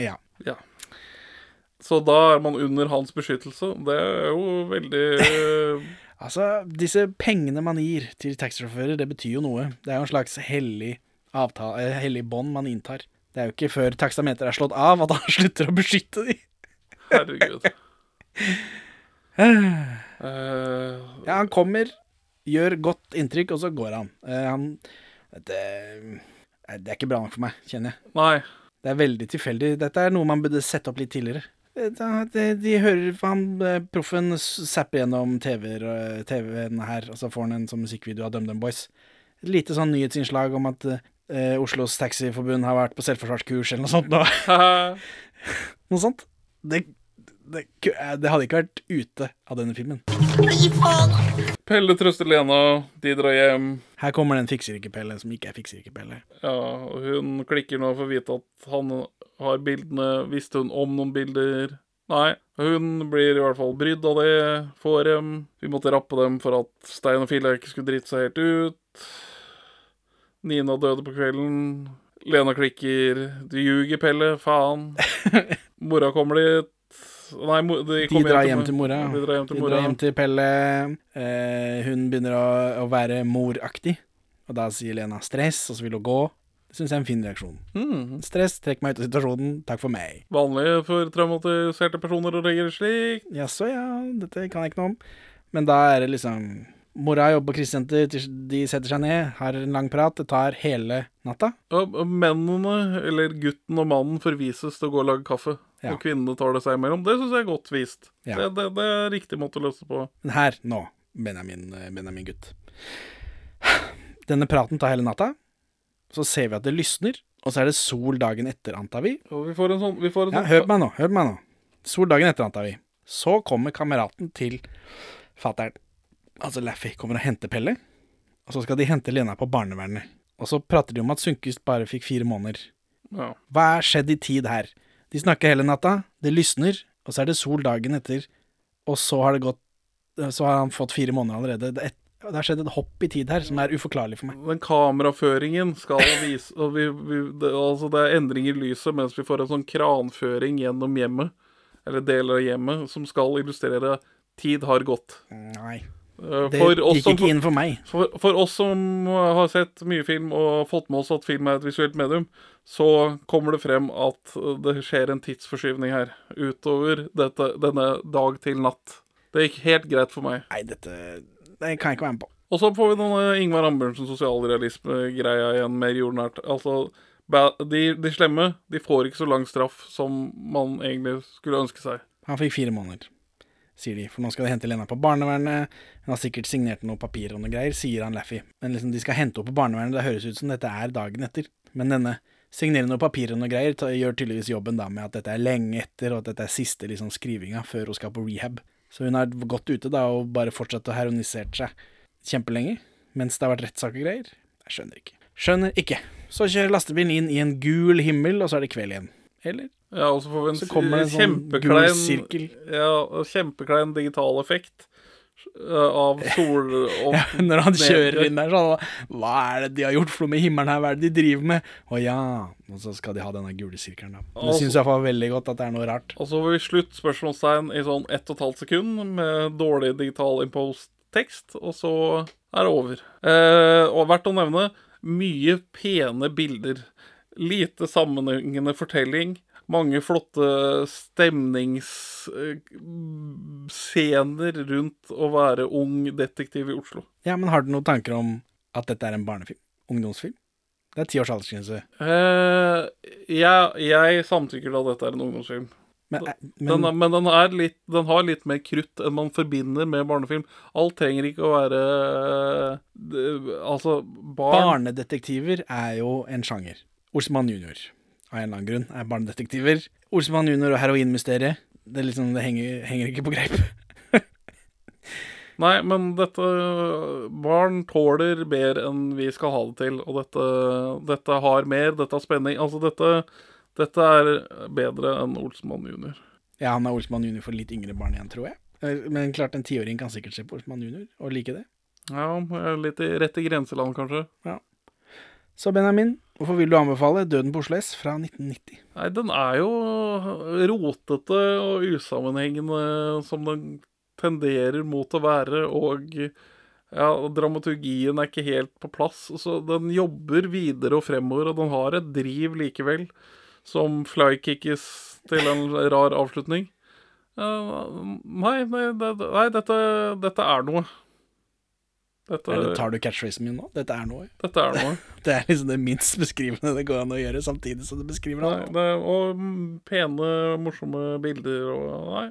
[SPEAKER 1] Ja.
[SPEAKER 2] Ja. Så da er man under hans beskyttelse. Det er jo veldig eh,
[SPEAKER 1] Altså, disse pengene man gir til taxisjåfører, det betyr jo noe. Det er jo en slags hellig, avtale, eh, hellig bånd man inntar. Det er jo ikke før taksameter er slått av at han slutter å beskytte de.
[SPEAKER 2] Herregud. Eh,
[SPEAKER 1] Ja, han kommer, gjør godt inntrykk, og så går han. Eh, han det, eh, det er ikke bra nok for meg, kjenner jeg.
[SPEAKER 2] Nei.
[SPEAKER 1] Det er veldig tilfeldig. Dette er noe man burde sette opp litt tidligere. Eh, da- De, de hører han eh, proffen s- zapper gjennom TV-er, eh, TV-en her, og så får han en sånn musikkvideo av DumDum Boys. Et lite sånn nyhetsinnslag om at eh, Oslos Taxiforbund har vært på selvforsvarskurs eller noe sånt.
[SPEAKER 2] nå.
[SPEAKER 1] noe sånt. Det, det, ku- eh, det hadde ikke vært ute av denne filmen.
[SPEAKER 2] Pelle trøster Lena, de drar hjem.
[SPEAKER 1] Her kommer den fikser ikke-Pelle som ikke er fikser ikke-Pelle.
[SPEAKER 2] Ja, og hun klikker nå for å vite at han har bildene. Visste hun om noen bilder? Nei. Hun blir i hvert fall brydd av det. Får dem. Vi måtte rappe dem for at Stein og Fille ikke skulle drite seg helt ut. Nina døde på kvelden. Lena klikker. Du ljuger, Pelle. Faen. Mora kommer dit. Nei, mo- de,
[SPEAKER 1] De
[SPEAKER 2] kommer
[SPEAKER 1] drar hjem til
[SPEAKER 2] mo-
[SPEAKER 1] mora.
[SPEAKER 2] De drar hjem til
[SPEAKER 1] De
[SPEAKER 2] mora.
[SPEAKER 1] drar hjem til Pelle. Eh, hun begynner å, å være moraktig, og da sier Lena 'stress', og så vil hun gå. Det syns jeg er en fin reaksjon.
[SPEAKER 2] Mhm.
[SPEAKER 1] Stress, trekk meg ut av situasjonen, takk for meg.
[SPEAKER 2] Vanlig for traumatiserte personer å reagere slik.
[SPEAKER 1] Jaså, ja, dette kan jeg ikke noe om. Men da er det liksom Mora jobber på krisesenter, til- de setter seg ned, har en lang prat, det tar hele natta.
[SPEAKER 2] Og og Mennene, eller gutten og mannen, forvises til å gå og lage kaffe.
[SPEAKER 1] Ja.
[SPEAKER 2] Og kvinnene tar det seg imellom. Det syns jeg er godt vist.
[SPEAKER 1] Ja.
[SPEAKER 2] Det, det, det er riktig måte å løse det på.
[SPEAKER 1] Men her, nå, Benjamin, eh, Benjamin gutt. Denne praten tar hele natta. Så ser vi at det lysner, og så er det sol dagen etter, antar vi.
[SPEAKER 2] Og vi får en sånn, vi får en
[SPEAKER 1] Ja,
[SPEAKER 2] sånn
[SPEAKER 1] hør på meg nå, hør på meg nå. Sol dagen etter, antar vi. Så kommer kameraten til fattern. Altså Laffy kommer og henter Pelle. Og så skal de hente Lena på barnevernet. Og så prater de om at Sundquist bare fikk fire måneder.
[SPEAKER 2] Ja.
[SPEAKER 1] Hva er skjedd i tid her? De snakker hele natta, det lysner, og så er det sol dagen etter. Og så har det gått eh, Så har han fått fire måneder allerede. Det, er et, det har skjedd et hopp i tid her som er uforklarlig for meg.
[SPEAKER 2] Den kameraføringen skal vise og vi, vi, det, Altså, det er endring i lyset mens vi får en sånn kranføring gjennom hjemmet, eller deler av hjemmet, som skal illustrere tid har gått.
[SPEAKER 1] Nei.
[SPEAKER 2] Eh,
[SPEAKER 1] Det
[SPEAKER 2] for oss
[SPEAKER 1] gikk
[SPEAKER 2] som-
[SPEAKER 1] ikke inn for meg.
[SPEAKER 2] For, for oss som har sett mye film og fått med oss at film er et visuelt medium, så kommer det frem at det skjer en tidsforskyvning her. Utover dette, denne dag til natt. Det gikk helt greit for meg.
[SPEAKER 1] Nei, dette Det kan jeg ikke være med på.
[SPEAKER 2] Og så får vi denne Ingvar Ambjørnsen sosialrealisme-greia igjen, mer jordnært. Altså, ba- de, de slemme de får ikke så lang straff som man egentlig skulle ønske seg.
[SPEAKER 1] Han fikk fire måneder, sier de, for nå skal de hente Lena på barnevernet. Hun har sikkert signert noen papirer og noe greier, sier han Laffy. Men liksom, de skal hente henne på barnevernet, det høres ut som dette er dagen etter. Men denne signere noen papirer og noe greier ta, gjør tydeligvis jobben da med at dette er lenge etter, og at dette er siste liksom, skrivinga før hun skal på rehab. Så hun har gått ute da og bare fortsatt å heronisere seg kjempelenge, mens det har vært rettssak og greier. Jeg skjønner ikke. Skjønner ikke. Så kjører lastebilen inn i en gul himmel, og så er det kveld igjen. Eller?
[SPEAKER 2] Ja, og så får vi en,
[SPEAKER 1] Så kommer det en sånn gul
[SPEAKER 2] kjempeklein,
[SPEAKER 1] sirkel.
[SPEAKER 2] Ja, og kjempeklein digital effekt eh, av sol og
[SPEAKER 1] Ja, Når han kjører inn der, sånn Hva er det de har gjort for noe med himmelen her? Hva er det de driver med? Å ja. Og så skal de ha denne gule sirkelen, da. Men Det
[SPEAKER 2] Altså-
[SPEAKER 1] syns jeg var veldig godt at det er noe rart.
[SPEAKER 2] Og så får vi sluttspørsmålstegn i sånn ett og et halvt sekund med dårlig digital impost-tekst, og så er det over. Eh, og verdt å nevne mye pene bilder. Lite sammenhengende fortelling. Mange flotte stemningsscener rundt å være ung detektiv i Oslo.
[SPEAKER 1] Ja, men har du noen tanker om at dette er en barnefilm? Ungdomsfilm? Det er ti års aldersgrense.
[SPEAKER 2] Eh, jeg, jeg samtykker til at dette er en ungdomsfilm.
[SPEAKER 1] Men,
[SPEAKER 2] den, er- men den, er litt, den har litt mer krutt enn man forbinder med barnefilm. Alt trenger ikke å være eh, det- Altså, barn
[SPEAKER 1] Barnedetektiver er jo en sjanger. Olsmann jr. av en eller annen grunn er barnedetektiver. Olsmann jr. og heroinmysteriet. Det, er liksom, det henger, henger ikke på greip.
[SPEAKER 2] Nei, men dette Barn tåler mer enn vi skal ha det til. Og dette, dette har mer, dette har spenning. Altså, dette, dette er bedre enn Olsmann jr.
[SPEAKER 1] Ja, han er Olsmann jr. for litt yngre barn igjen, tror jeg. Eh, Men klart, en tiåring kan sikkert se på Olsmann jr. og like det.
[SPEAKER 2] Ja, litt i, rett i grenseland, kanskje.
[SPEAKER 1] Ja. Så Benjamin, hvorfor vil du anbefale Døden på Oslo S fra 1990?
[SPEAKER 2] Nei, den er jo rotete og usammenhengende som den tenderer mot å være, og ja, dramaturgien er ikke helt på plass. Så den jobber videre og fremover, og den har et driv likevel, som flykickes til en rar avslutning. Eh, nei, nei, det, nei dette, dette er noe. Dette,
[SPEAKER 1] Eller tar du catchphrasen min nå? Dette er noe.
[SPEAKER 2] dette er noe.
[SPEAKER 1] Det er liksom det minst beskrivende det går an å gjøre, samtidig som det beskriver noe.
[SPEAKER 2] Nei, det, og mm, pene, morsomme bilder og Nei.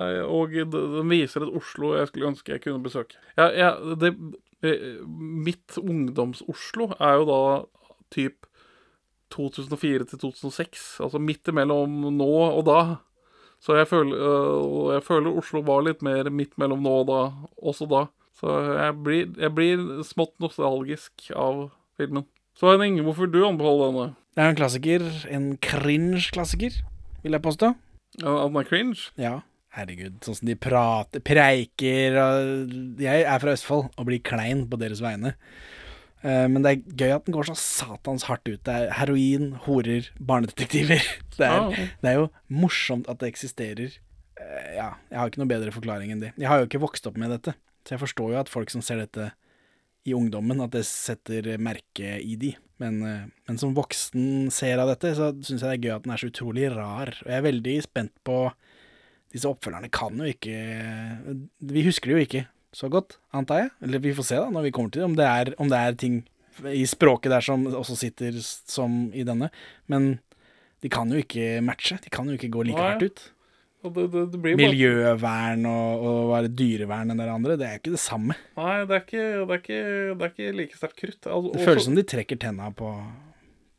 [SPEAKER 2] nei og d- den viser et Oslo jeg skulle ønske jeg kunne besøke. Ja, ja, det, eh, mitt ungdoms-Oslo er jo da typ 2004 til 2006. Altså midt imellom nå og da. Så jeg føler, øh, og jeg føler Oslo var litt mer midt mellom nå og da, også da. Så jeg blir, jeg blir smått nostalgisk av filmen. Så Henning, hvorfor vil du anbefaler denne?
[SPEAKER 1] Det er jo en klassiker. En cringe-klassiker, vil jeg påstå.
[SPEAKER 2] Ja, At den er cringe?
[SPEAKER 1] Ja. Herregud, sånn som de prater, preiker og Jeg er fra Østfold og blir klein på deres vegne. Eh, Men det er gøy at den går så satans hardt ut. Det er heroin, horer, barnedetektiver. Det
[SPEAKER 2] Ah.
[SPEAKER 1] er, det er jo morsomt at det eksisterer. Eh, Ja, jeg har ikke noe bedre forklaring enn det. Jeg har jo ikke vokst opp med dette, så jeg forstår jo at folk som ser dette i ungdommen, at det setter merke i de. Men, eh, men som voksen ser av dette, så syns jeg det er gøy at den er så utrolig rar. Og jeg er veldig spent på Disse oppfølgerne kan jo ikke Vi husker det jo ikke så godt, antar jeg. Eller vi får se da, når vi kommer til det, om det er, om det er ting i språket der som også sitter s- som i denne. Men de kan jo ikke matche. De kan jo ikke gå like
[SPEAKER 2] Nei.
[SPEAKER 1] hardt ut.
[SPEAKER 2] Og det, det, det blir bare
[SPEAKER 1] Miljøvern og, og hva er det, dyrevern enn det andre, det er jo ikke det samme.
[SPEAKER 2] Nei, det er ikke, det er ikke, det er ikke like sterkt krutt. Altså,
[SPEAKER 1] Det føles som de trekker tenna på,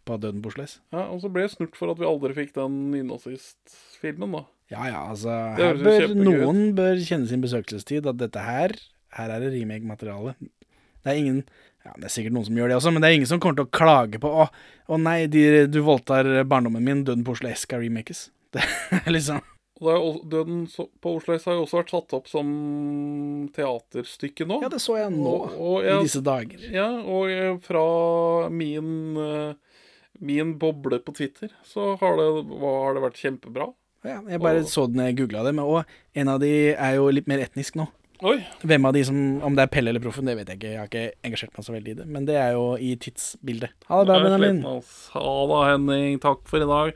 [SPEAKER 1] på døden Borsløs.
[SPEAKER 2] Ja, og så ble jeg snurt for at vi aldri fikk den nynazist-filmen, da.
[SPEAKER 1] Ja ja, altså
[SPEAKER 2] Det
[SPEAKER 1] her
[SPEAKER 2] høres jo
[SPEAKER 1] bør,
[SPEAKER 2] kjempegøy ut.
[SPEAKER 1] Noen bør kjenne sin besøkelsestid, at dette her Her er det remake-materiale. Det er ingen ja, Det er sikkert noen som gjør det også, men det er ingen som kommer til å klage på Å, å nei, de, du voldtar barndommen min, Døden på Oslo S skal remakes. Det er liksom
[SPEAKER 2] Og det er, jo- Døden så- på Oslo S har jo også vært satt opp som teaterstykke nå.
[SPEAKER 1] Ja, det så jeg nå, i disse dager.
[SPEAKER 2] Ja, og jeg, fra min, eh, min boble på Twitter, så har det, hva, har det vært kjempebra.
[SPEAKER 1] ja, Jeg bare
[SPEAKER 2] Og-
[SPEAKER 1] så den jeg googla det, men og en av de er jo litt mer etnisk nå.
[SPEAKER 2] Oi.
[SPEAKER 1] Hvem av de som Om det er Pelle eller Proffen, det vet jeg ikke. Jeg har ikke engasjert meg så veldig i det. Men det er jo i tidsbildet. Ha det bra,
[SPEAKER 2] Jeg er
[SPEAKER 1] Benjamin.
[SPEAKER 2] sliten, ass. Ha da, Henning. Takk for i dag.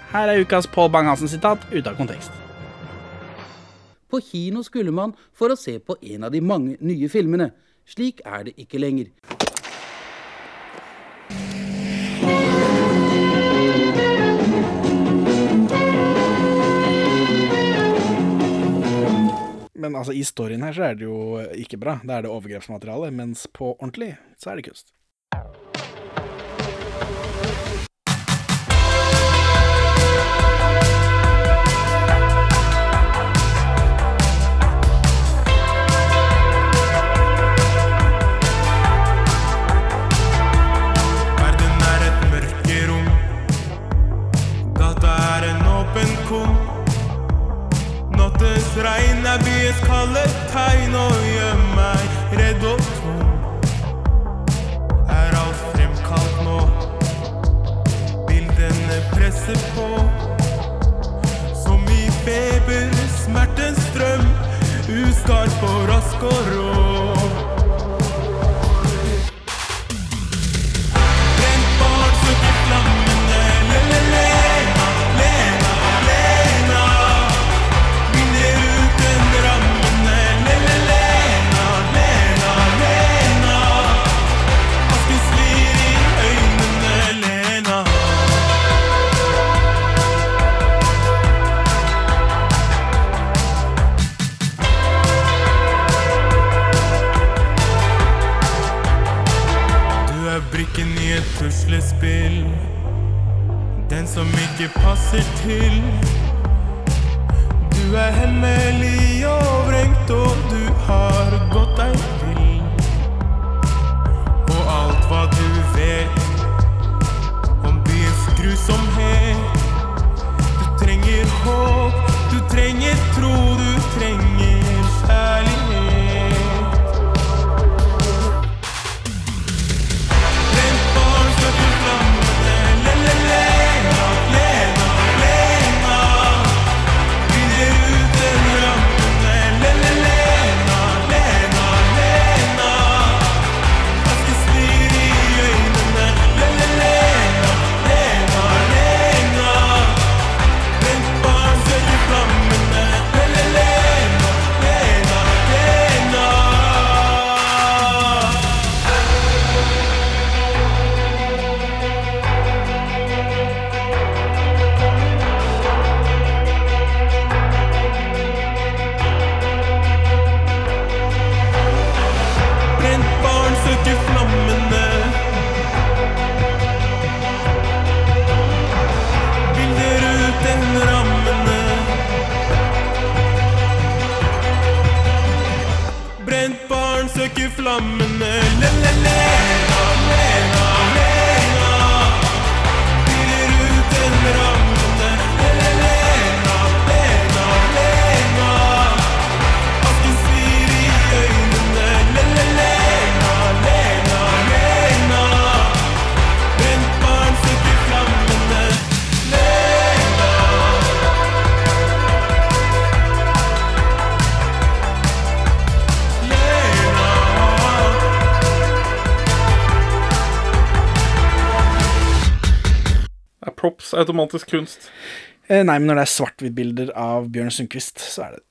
[SPEAKER 1] Her er ukas Pål Bang-Hansen-sitat ute av kontekst.
[SPEAKER 14] På kino skulle man for å se på en av de mange nye filmene. Slik er det ikke lenger.
[SPEAKER 1] Men altså, i storyen her så er det jo ikke bra. Da er det overgrepsmateriale, mens på ordentlig så er det kunst.
[SPEAKER 15] Verden er et mørkerom. Gata er en åpen kum. Nattens regn er byens kalde tegn, og gjør meg redd og tom. Er alt fremkalt nå? Bildene presser på. Som i feber, smertens strøm. Uskarp og rask og rå. Du er brikken i et puslespill. Den som ikke passer til. Du er hemmelig og vrengt, og du har gått deg vill. Og alt hva du vet om byens grusomhet. Du trenger håp, du trenger tro, du trenger kjærlighet. Lena, Lena, Lena.
[SPEAKER 2] props automatisk kunst?
[SPEAKER 1] Eh, Nei, men når det er svart-hvitt-bilder av Bjørn Sundquist, så er det